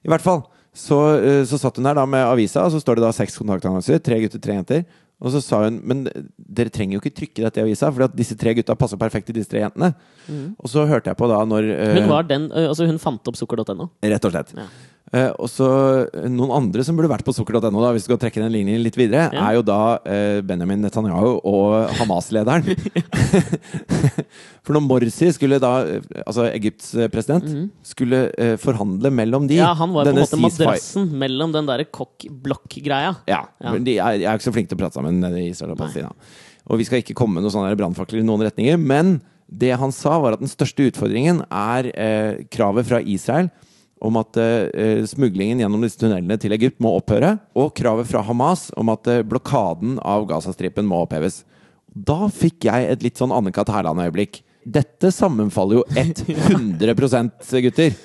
[SPEAKER 2] I hvert fall så, eh, så satt hun der da med avisa, og så står det da seks kontaktannonser. Tre gutter, tre jenter. Og så sa hun men eh, dere trenger jo ikke trykke dette i avisa, for disse tre gutta passer perfekt til disse tre jentene. Og så hørte jeg på da når eh,
[SPEAKER 1] Hun var den, eh, altså hun fant opp sukker.no.
[SPEAKER 2] Rett og slett.
[SPEAKER 1] Ja.
[SPEAKER 2] Eh, og så eh, Noen andre som burde vært på sukker.no, da, hvis du skal trekke den linjen litt videre,
[SPEAKER 1] Ja.
[SPEAKER 2] er jo da eh, Benjamin Netanyahu og
[SPEAKER 1] <laughs>
[SPEAKER 2] Hamas-lederen. <laughs> For når Morsi skulle da, eh, altså Egypts eh, president, skulle eh, forhandle mellom de
[SPEAKER 1] Mhm. Ja, han var på en
[SPEAKER 2] denne
[SPEAKER 1] måte
[SPEAKER 2] ceasefire-
[SPEAKER 1] madrassen mellom den derre kokk-blokk-greia.
[SPEAKER 2] Ja,
[SPEAKER 1] Ja.
[SPEAKER 2] men de er, jeg er ikke så flinke til å prate sammen nede i Israel og Palestina. Og vi skal ikke komme med noen sånne brannfakler i noen retninger, men det han sa, var at den største utfordringen er eh, kravet fra Israel om at eh, eh, smuglingen gjennom disse tunnelene til Egypt må opphøre, og kravet fra Hamas om at eh, blokaden av Gazastripen må oppheves. Da fikk jeg et litt sånn Anne-Kat. Hærland-øyeblikk. Dette sammenfaller jo 100 gutter!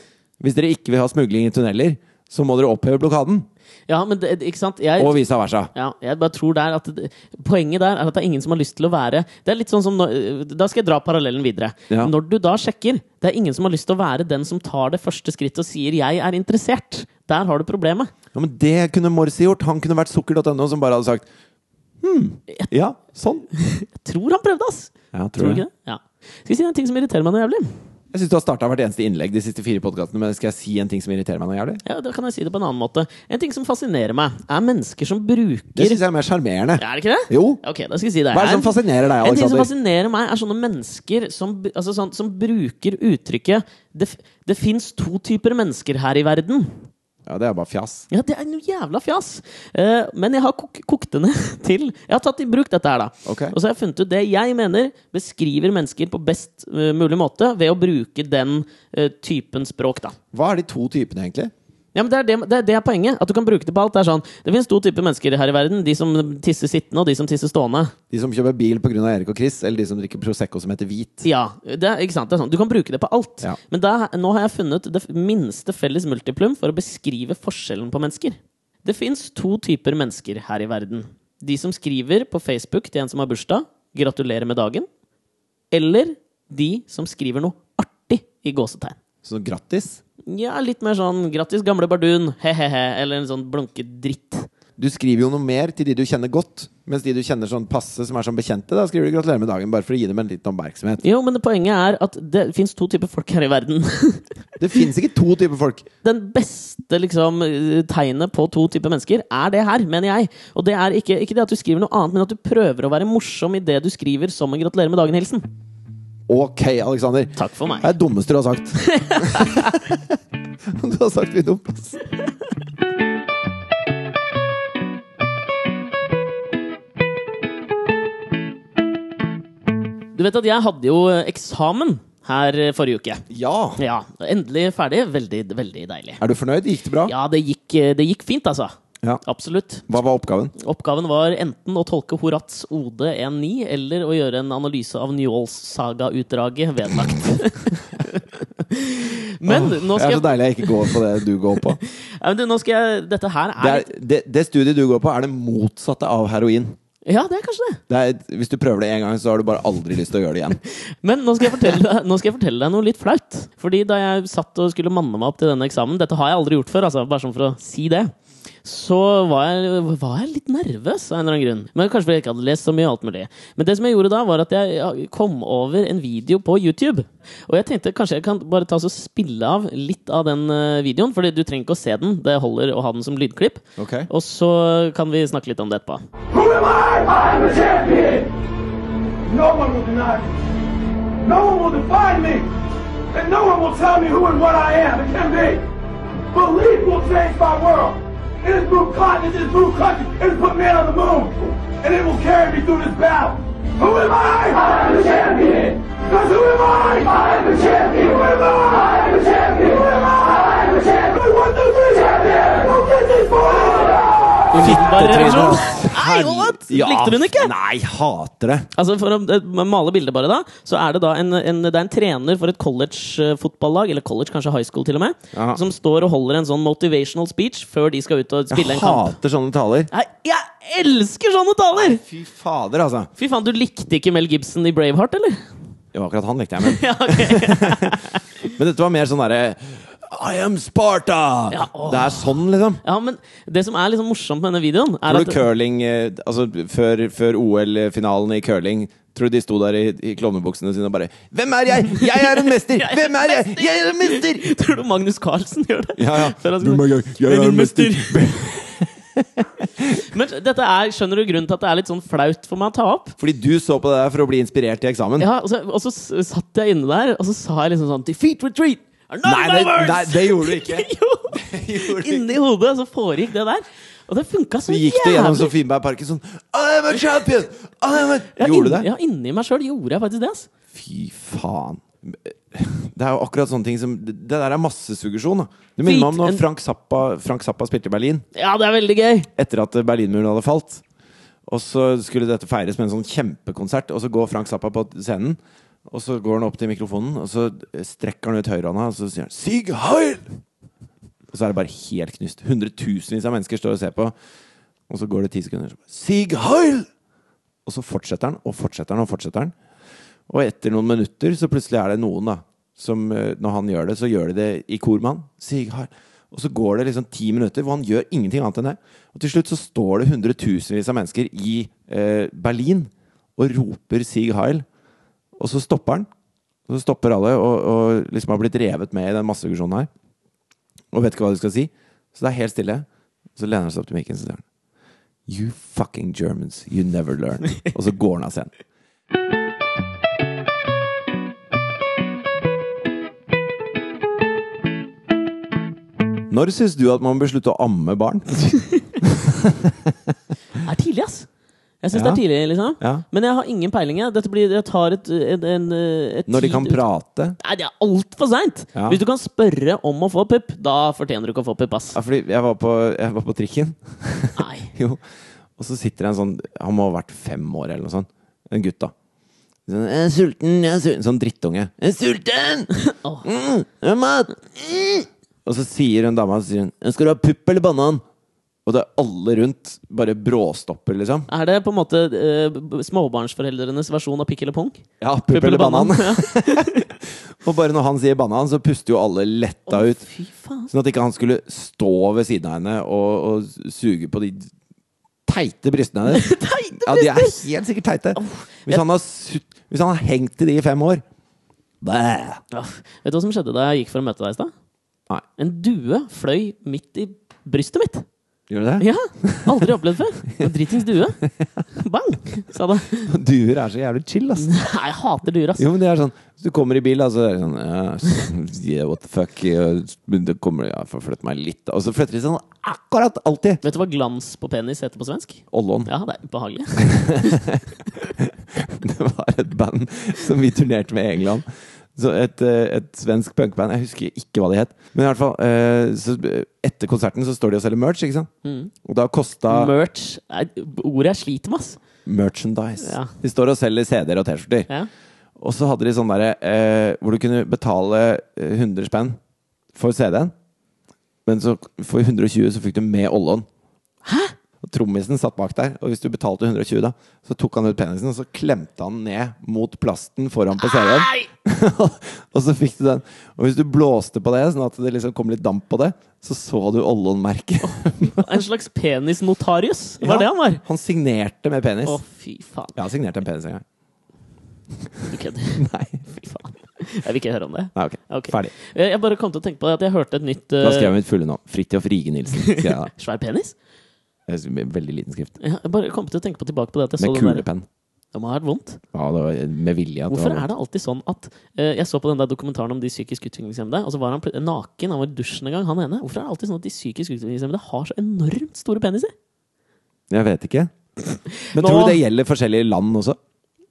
[SPEAKER 2] Hvis dere ikke vil ha smugling i tunneler, så må dere oppheve blokaden.
[SPEAKER 1] Ja, men det, ikke sant? Jeg,
[SPEAKER 2] Og vice versa.
[SPEAKER 1] Ja, jeg bare tror der at det, Poenget der er at det er ingen som har lyst til å være Det er litt sånn som når, Da skal jeg dra parallellen videre.
[SPEAKER 2] Ja.
[SPEAKER 1] Når du da sjekker, det er ingen som har lyst til å være den som tar det første skrittet og sier 'jeg er interessert'. Der har du problemet.
[SPEAKER 2] Ja, men det kunne Morsi gjort. Han kunne vært sukker.no som bare hadde sagt Hm, ja, sånn.
[SPEAKER 1] Jeg tror han prøvde, ass!
[SPEAKER 2] Ja,
[SPEAKER 1] Tror du ikke det? Ja. Skal jeg si en ting som irriterer meg noe jævlig?
[SPEAKER 2] Jeg syns du har starta hvert eneste innlegg de siste fire podkastene, men skal jeg si en ting som irriterer meg noe jævlig?
[SPEAKER 1] Ja, da kan jeg si det på en annen måte. En ting som fascinerer meg, er mennesker som bruker
[SPEAKER 2] Det syns jeg er mer sjarmerende.
[SPEAKER 1] Er det ikke det?
[SPEAKER 2] Jo.
[SPEAKER 1] Ok, da skal jeg si det.
[SPEAKER 2] Hva er det som fascinerer deg,
[SPEAKER 1] En ting som
[SPEAKER 2] Alexander?
[SPEAKER 1] fascinerer meg, er sånne mennesker som, b- altså sånn, som bruker uttrykket det, f- 'Det fins to typer mennesker her i verden'.
[SPEAKER 2] Ja, det er bare fjas.
[SPEAKER 1] Ja, det er noe jævla fjas! Eh, men jeg har kok kokt det ned <laughs> til Jeg har tatt i bruk dette her, da.
[SPEAKER 2] Ok.
[SPEAKER 1] Og så har jeg funnet ut det jeg mener beskriver mennesker på best eh, mulig måte ved å bruke den eh, typen språk, da.
[SPEAKER 2] Hva er de to typene, egentlig?
[SPEAKER 1] Ja, men det er det, det er det er poenget. At du kan bruke det på alt. Det er sånn, det finnes to typer mennesker her i verden. De som tisser sittende, og de som tisser stående.
[SPEAKER 2] De som kjøper bil pga. Erik og Chris, eller de som drikker Prosecco som heter hvit?
[SPEAKER 1] Ja, det er, ikke sant? Det er sånn. Du kan bruke det på alt.
[SPEAKER 2] Ja.
[SPEAKER 1] Men da, nå har jeg funnet det minste felles multiplum for å beskrive forskjellen på mennesker. Det fins to typer mennesker her i verden. De som skriver på Facebook til en som har bursdag 'gratulerer med dagen', eller de som skriver noe artig i gåsetegn.
[SPEAKER 2] Så grattis.
[SPEAKER 1] Ja, litt mer sånn 'grattis, gamle bardun', he-he-he, eller en sånn blunke dritt.
[SPEAKER 2] Du skriver jo noe mer til de du kjenner godt, mens de du kjenner sånn passe, som er sånn bekjente, da skriver du 'gratulerer med dagen', bare for å gi dem en liten oppmerksomhet.
[SPEAKER 1] Jo, men det poenget er at det fins to typer folk her i verden. <laughs>
[SPEAKER 2] Det fins ikke to typer folk.
[SPEAKER 1] Den beste liksom, eh, tegnet på to typer mennesker er det her, mener jeg. Og det er ikke, ikke det at du skriver noe annet, men at du prøver å være morsom i det du skriver som en gratulerer med dagen-hilsen.
[SPEAKER 2] Ok, Alexander.
[SPEAKER 1] Takk for meg.
[SPEAKER 2] Det er det dummeste du har
[SPEAKER 1] <laughs>
[SPEAKER 2] sagt. du har sagt mye dumt. ass.
[SPEAKER 1] Du vet at jeg hadde jo eh, eksamen her eh, forrige uke.
[SPEAKER 2] Ja.
[SPEAKER 1] Ja, endelig ferdig. Veldig, veldig deilig.
[SPEAKER 2] Er du fornøyd? Gikk det bra?
[SPEAKER 1] Ja, det gikk, eh, det gikk fint, altså.
[SPEAKER 2] Ja.
[SPEAKER 1] Absolutt.
[SPEAKER 2] Hva var oppgaven?
[SPEAKER 1] Oppgaven var enten å tolke Horats OD 1.9, eller å gjøre en analyse av Njåls-saga-utdraget vedlagt. <laughs> Men nå
[SPEAKER 2] Det
[SPEAKER 1] skal
[SPEAKER 2] er
[SPEAKER 1] jeg
[SPEAKER 2] så deilig jeg ikke går på det du går
[SPEAKER 1] <laughs>
[SPEAKER 2] på.
[SPEAKER 1] Ja, men du, nå skal jeg Dette her er,
[SPEAKER 2] Det, er, det, det studiet du går på, er det motsatte av heroin.
[SPEAKER 1] Ja, det er kanskje det.
[SPEAKER 2] Det er, hvis du prøver det én gang, så har du bare aldri lyst til å gjøre det igjen.
[SPEAKER 1] Men nå skal, jeg fortelle deg, nå skal jeg fortelle deg noe litt flaut. Fordi da jeg satt og skulle manne meg opp til denne eksamen Dette har jeg aldri gjort før, altså, bare sånn for å si det. Så var jeg, var jeg litt nervøs av en eller annen grunn. Men Kanskje fordi jeg ikke hadde lest så mye. og alt mulig Men det som jeg gjorde da, var at jeg kom over en video på YouTube. Og jeg tenkte kanskje jeg kan bare ta og så spille av litt av den eh, videoen. Fordi du trenger ikke å se den. Det holder å ha den som lydklipp.
[SPEAKER 2] Ok?
[SPEAKER 1] Og så kan vi snakke litt om det etterpå.
[SPEAKER 3] Who am I? I'm the champion. No one will deny me. No one will define me. And no one will tell me who and what I am. It can be. Belief will change my world. It has moved continents, it has moved countries, it has put man on the moon. And it will carry me through this battle. Who am I? I'm the champion. Because who am I? I'm the champion. Who am I? I'm the champion. Who am I? I'm the champion. We want the vision. Go get this boy.
[SPEAKER 1] Umiddelbar
[SPEAKER 2] Fittetryne,
[SPEAKER 1] reaksjon.
[SPEAKER 2] ass.
[SPEAKER 1] Nei, what?
[SPEAKER 2] Ja.
[SPEAKER 1] Likte du den ikke?
[SPEAKER 2] Nei, hater det.
[SPEAKER 1] Altså For å eh, male bildet, bare da så er det da en, en, det er en trener for et college-fotballag, eller college, kanskje high school til og med,
[SPEAKER 2] Ja.
[SPEAKER 1] som står og holder en sånn motivational speech før de skal ut og spille
[SPEAKER 2] Jeg
[SPEAKER 1] en kamp.
[SPEAKER 2] hater sånne taler.
[SPEAKER 1] Nei, jeg elsker sånne taler!
[SPEAKER 2] Fy fader, altså.
[SPEAKER 1] Fy faen, du likte ikke Mel Gibson i Braveheart, eller?
[SPEAKER 2] Det var akkurat han likte jeg, men
[SPEAKER 1] <laughs> Ja, ok.
[SPEAKER 2] Men dette var mer sånn derre I am Sparta!
[SPEAKER 1] Ja, åh.
[SPEAKER 2] det er sånn, liksom.
[SPEAKER 1] ja, men det som er liksom morsomt med denne videoen, er
[SPEAKER 2] Tror du
[SPEAKER 1] at
[SPEAKER 2] curling eh, Altså, før, før OL-finalen i curling Tror du de sto der i, i klovnebuksene sine og bare 'Hvem er jeg? <laughs> Jeg er en mester! Hvem er jeg? Jeg er en mester!'
[SPEAKER 1] <laughs> Tror du Magnus Carlsen gjør det?
[SPEAKER 2] Ja, ja.
[SPEAKER 1] Før han
[SPEAKER 2] Du må- jeg- jeg er
[SPEAKER 1] Men
[SPEAKER 2] en mester.
[SPEAKER 1] Men dette er, skjønner du grunnen til at det er litt sånn flaut for meg å ta opp?
[SPEAKER 2] <laughs> Fordi du så på det der for å bli inspirert til eksamen.
[SPEAKER 1] Ja, og så, og så s- satt jeg inne der, og så sa jeg liksom sånn Defeat retreat! are not
[SPEAKER 2] Nei,
[SPEAKER 1] my
[SPEAKER 2] det-
[SPEAKER 1] words!"
[SPEAKER 2] nei, det gjorde du
[SPEAKER 1] <laughs>
[SPEAKER 2] <laughs> ikke.
[SPEAKER 1] jo! Inni hodet så foregikk det der. Og det funka så
[SPEAKER 2] Så
[SPEAKER 1] jævlig!
[SPEAKER 2] gikk det gjennom Sofienbergparken sånn I am a champion! I am a...
[SPEAKER 1] Ja,
[SPEAKER 2] Gjorde du
[SPEAKER 1] inni-
[SPEAKER 2] det?
[SPEAKER 1] Ja, inni meg sjøl gjorde jeg faktisk det. ass.
[SPEAKER 2] Fy faen. Det er jo akkurat sånne ting som Det det der er massesuggesjon. da. Det minner meg om
[SPEAKER 1] Hvit-
[SPEAKER 2] når Frank Zappa, Frank Zappa spilte i Berlin
[SPEAKER 1] Ja, det er veldig gøy!
[SPEAKER 2] etter at Berlinmuren hadde falt. Og så skulle dette feires med en sånn kjempekonsert, og så går Frank Zappa på scenen. Og så går han opp til mikrofonen, og så strekker han ut høyrehånda, og så sier han 'Sig Heil!' Og så er det bare helt knust. Hundretusenvis av mennesker står og ser på. Og så går det ti sekunder, så bare 'Sig Heil!' Og så fortsetter han og fortsetter han og fortsetter han. Og etter noen minutter så plutselig er det noen da som eh, når han gjør det, så gjør de det i kor med han. Sig Heil. Og så går det liksom ti minutter hvor han gjør ingenting annet enn det. Og til slutt så står det hundretusenvis av mennesker i eh, Berlin og roper Sig Heil. Og så stopper han. Og så stopper alle og, og liksom har blitt revet med i den masseaggresjonen her. Og vet ikke hva de skal si. Så det er helt stille. Så lener han seg opp til mikken og sier han, You fucking Germans, you never learn. Og så går han av scenen. Når syns du at man bør slutte å amme barn?
[SPEAKER 1] Det er tidlig, ass! Jeg syns
[SPEAKER 2] Ja.
[SPEAKER 1] det er tidlig, liksom.
[SPEAKER 2] Ja.
[SPEAKER 1] Men jeg har ingen peiling. jeg. Dette blir, jeg tar et, en, en, eh, et
[SPEAKER 2] Når de kan
[SPEAKER 1] tid-
[SPEAKER 2] prate?
[SPEAKER 1] Nei, det er altfor seint!
[SPEAKER 2] Ja.
[SPEAKER 1] Hvis du kan spørre om å få pupp, da fortjener du ikke å få pupp,
[SPEAKER 2] <laughs>
[SPEAKER 1] ass.
[SPEAKER 2] Ja, fordi jeg var på, jeg var på trikken.
[SPEAKER 1] Nei.
[SPEAKER 2] <laughs> Jo. Og så sitter det en sånn Han må ha vært fem år eller noe sånt. En gutt, da. Sånn, jeg er sulten, jeg er sulten. Sånn drittunge. Jeg er <laughs> sulten!
[SPEAKER 1] Åh.
[SPEAKER 2] Mm, jeg har mat! Mm. Og så sier hun dama så sier hun, Skal du ha pupp eller banan? Og det er alle rundt bare bråstopper, liksom.
[SPEAKER 1] Er det på en måte eh, b- småbarnsforeldrenes versjon av pikk eller pung?
[SPEAKER 2] Ja, pupp eller banan. <laughs> Og bare når han sier banan, så puster jo alle letta
[SPEAKER 1] Å,
[SPEAKER 2] ut.
[SPEAKER 1] Fy faen.
[SPEAKER 2] Sånn at ikke han skulle stå ved siden av henne og, og suge på de teite brystene hennes.
[SPEAKER 1] Teite
[SPEAKER 2] Ja, de er helt sikkert teite. Hvis han har, sutt- hvis han har hengt i de i fem år Bæ.
[SPEAKER 1] Ja. Vet du hva som skjedde da jeg gikk for å møte deg i stad?
[SPEAKER 2] Nei.
[SPEAKER 1] En due fløy midt i brystet mitt.
[SPEAKER 2] Gjør du det?
[SPEAKER 1] Ja, Aldri opplevd før. En dritings due. Bang, sa det.
[SPEAKER 2] Duer er så jævlig chill, ass.
[SPEAKER 1] Nei, jeg hater duer, ass.
[SPEAKER 2] Jo, men det er sånn Hvis du kommer i bil, da, så er det sånn ja, s- yeah, What the fuck? ja, Men det kommer ja, Får flytte meg litt, da. Og så flytter de seg sånn akkurat alltid.
[SPEAKER 1] Vet du hva glans på penis heter på svensk?
[SPEAKER 2] Ollon. <laughs>
[SPEAKER 1] Ja, det er ubehagelig.
[SPEAKER 2] Det var et band som vi turnerte med i England. Så et, eh, et svensk punkband. Jeg husker ikke hva de het. Men i hvert fall, eh, så eh, etter konserten så står de og selger merch, ikke sant? Og da kosta
[SPEAKER 1] Merch er ordet jeg sliter med, ass.
[SPEAKER 2] merchandise.
[SPEAKER 1] Ja.
[SPEAKER 2] De står og selger CD-er og T-skjorter.
[SPEAKER 1] Ja.
[SPEAKER 2] Og så hadde de sånn derre eh, hvor du kunne betale eh, 100 spenn for CD-en. Men så for 120 så fikk du med Ollon. Og Trommisen satt bak der, og hvis du betalte 120, da, så tok han ut penisen og så klemte han ned mot plasten foran på CD-en.
[SPEAKER 1] Nei!
[SPEAKER 2] <laughs> og så fikk du den. Og hvis du blåste på det, sånn at det liksom kom litt damp på det, så så du Ollon-merket.
[SPEAKER 1] En slags penisnotarius. Det var det han var.
[SPEAKER 2] Han signerte med penis.
[SPEAKER 1] Å, fy faen.
[SPEAKER 2] Jeg har signert en penis en gang. <laughs>
[SPEAKER 1] Du kødder.
[SPEAKER 2] Nei,
[SPEAKER 1] Fy faen. Jeg vil ikke høre om det.
[SPEAKER 2] Nei ok.
[SPEAKER 1] Ok.
[SPEAKER 2] Ferdig.
[SPEAKER 1] Jeg jeg bare kom til å tenke på det at jeg hørte et nytt eh,
[SPEAKER 2] Da skrev jeg mitt fulle navn. Fridtjof Rige Nilsen. skrev jeg da.
[SPEAKER 1] <laughs> Svær penis?
[SPEAKER 2] Jeg synes det er Veldig liten skrift.
[SPEAKER 1] <laughs> Ja, Jeg bare kom til å tenke på tilbake på det at jeg så
[SPEAKER 2] Med
[SPEAKER 1] den der.
[SPEAKER 2] kulepenn.
[SPEAKER 1] Det må ha vært vondt.
[SPEAKER 2] Ja, det var med vilje. At
[SPEAKER 1] Hvorfor
[SPEAKER 2] det var
[SPEAKER 1] er det alltid sånn at eh, Jeg så på den der dokumentaren om de psykisk utviklingshemmede, og så var han pl- naken, han var i dusjen en gang, han ene. Hvorfor er det alltid sånn at de psykisk utviklingshemmede har så enormt store peniser?
[SPEAKER 2] Jeg
[SPEAKER 1] <laughs>
[SPEAKER 2] vet ikke. Men
[SPEAKER 1] Nå-
[SPEAKER 2] tror du det gjelder forskjellige land også?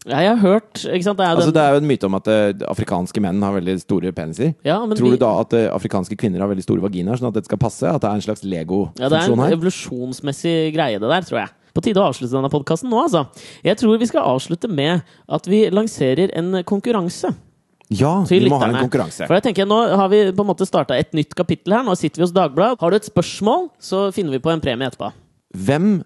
[SPEAKER 1] Ja, jeg har hørt ikke sant? Det er jo
[SPEAKER 2] Altså,
[SPEAKER 1] den,
[SPEAKER 2] det er jo en myte om at eh, afrikanske menn har veldig store peniser.
[SPEAKER 1] ja, men
[SPEAKER 2] Tror
[SPEAKER 1] vi-
[SPEAKER 2] du da at eh, afrikanske kvinner har veldig store vaginaer, sånn at dette skal passe? At det er en
[SPEAKER 1] Ja,
[SPEAKER 2] slags
[SPEAKER 1] det er
[SPEAKER 2] Lego-funksjon
[SPEAKER 1] en
[SPEAKER 2] her?
[SPEAKER 1] evolusjonsmessig greie, det der, tror jeg. På tide å avslutte denne podkasten nå, altså. Jeg tror vi skal avslutte med at vi lanserer en konkurranse.
[SPEAKER 2] Ja,
[SPEAKER 1] til
[SPEAKER 2] vi må ha en
[SPEAKER 1] lytterne.
[SPEAKER 2] konkurranse.
[SPEAKER 1] For jeg tenker, Nå har vi på en måte starta et nytt kapittel her. Nå sitter vi hos Dagbladet. Har du et spørsmål, så finner vi på en premie etterpå.
[SPEAKER 2] Hvem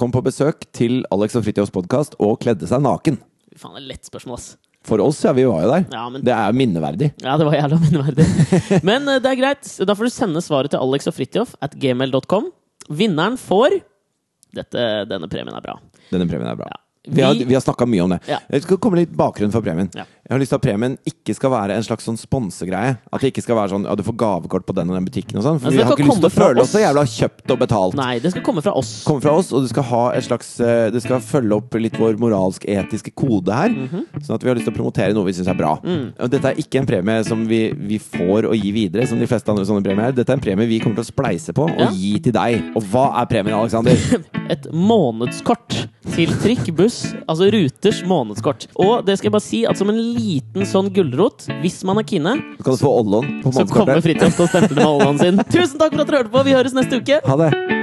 [SPEAKER 2] kom på besøk til Alex og Fritjofs podkast og kledde seg naken?
[SPEAKER 1] Fy Faen, det er lett spørsmål, ass.
[SPEAKER 2] For oss, ja. Vi var jo der.
[SPEAKER 1] Ja, men-
[SPEAKER 2] Det er minneverdig.
[SPEAKER 1] Ja, det var jævla minneverdig.
[SPEAKER 2] <laughs>
[SPEAKER 1] Men eh, det er greit. Da får du sende svaret til Alex og Fridtjof at gmail.com. Vinneren får dette, Denne premien er bra.
[SPEAKER 2] Denne premien er bra.
[SPEAKER 1] Ja.
[SPEAKER 2] Vi har,
[SPEAKER 1] Vi-
[SPEAKER 2] vi har snakka mye om det.
[SPEAKER 1] Ja.
[SPEAKER 2] Jeg skal komme litt bakgrunn for premien.
[SPEAKER 1] Ja.
[SPEAKER 2] Jeg har lyst til at premien ikke skal være en slags sånn sponsegreie. At det ikke skal være sånn ja, du får gavekort på den og den butikken og sånn. For
[SPEAKER 1] Altså,
[SPEAKER 2] vi
[SPEAKER 1] det
[SPEAKER 2] har
[SPEAKER 1] skal
[SPEAKER 2] ikke lyst til å
[SPEAKER 1] komme fra
[SPEAKER 2] føle oss
[SPEAKER 1] oss.
[SPEAKER 2] så jævla kjøpt og betalt.
[SPEAKER 1] Nei, det skal komme fra oss.
[SPEAKER 2] kommer fra oss, og det skal, ha et slags, eh, det skal følge opp litt vår moralsk-etiske kode her.
[SPEAKER 1] Mhm.
[SPEAKER 2] Sånn at vi har lyst til å promotere noe vi syns er bra.
[SPEAKER 1] Mm.
[SPEAKER 2] Og dette er ikke en premie som vi, vi får å gi videre, som de fleste andre sånne premier. Dette er en premie vi kommer til å spleise på og
[SPEAKER 1] Ja.
[SPEAKER 2] gi til deg. Og hva er premien, Aleksander?
[SPEAKER 1] <laughs> et månedskort til trikk, buss, altså ruters månedskort. Og det skal jeg bare si at som en liten sånn gulrot, hvis man er kine,
[SPEAKER 2] Så kan du få Ollon på
[SPEAKER 1] så kommer
[SPEAKER 2] månedskortet.
[SPEAKER 1] Fridtjof til å stemple med oljen sin. Tusen takk for at dere hørte på, vi høres neste uke!
[SPEAKER 2] Ha det.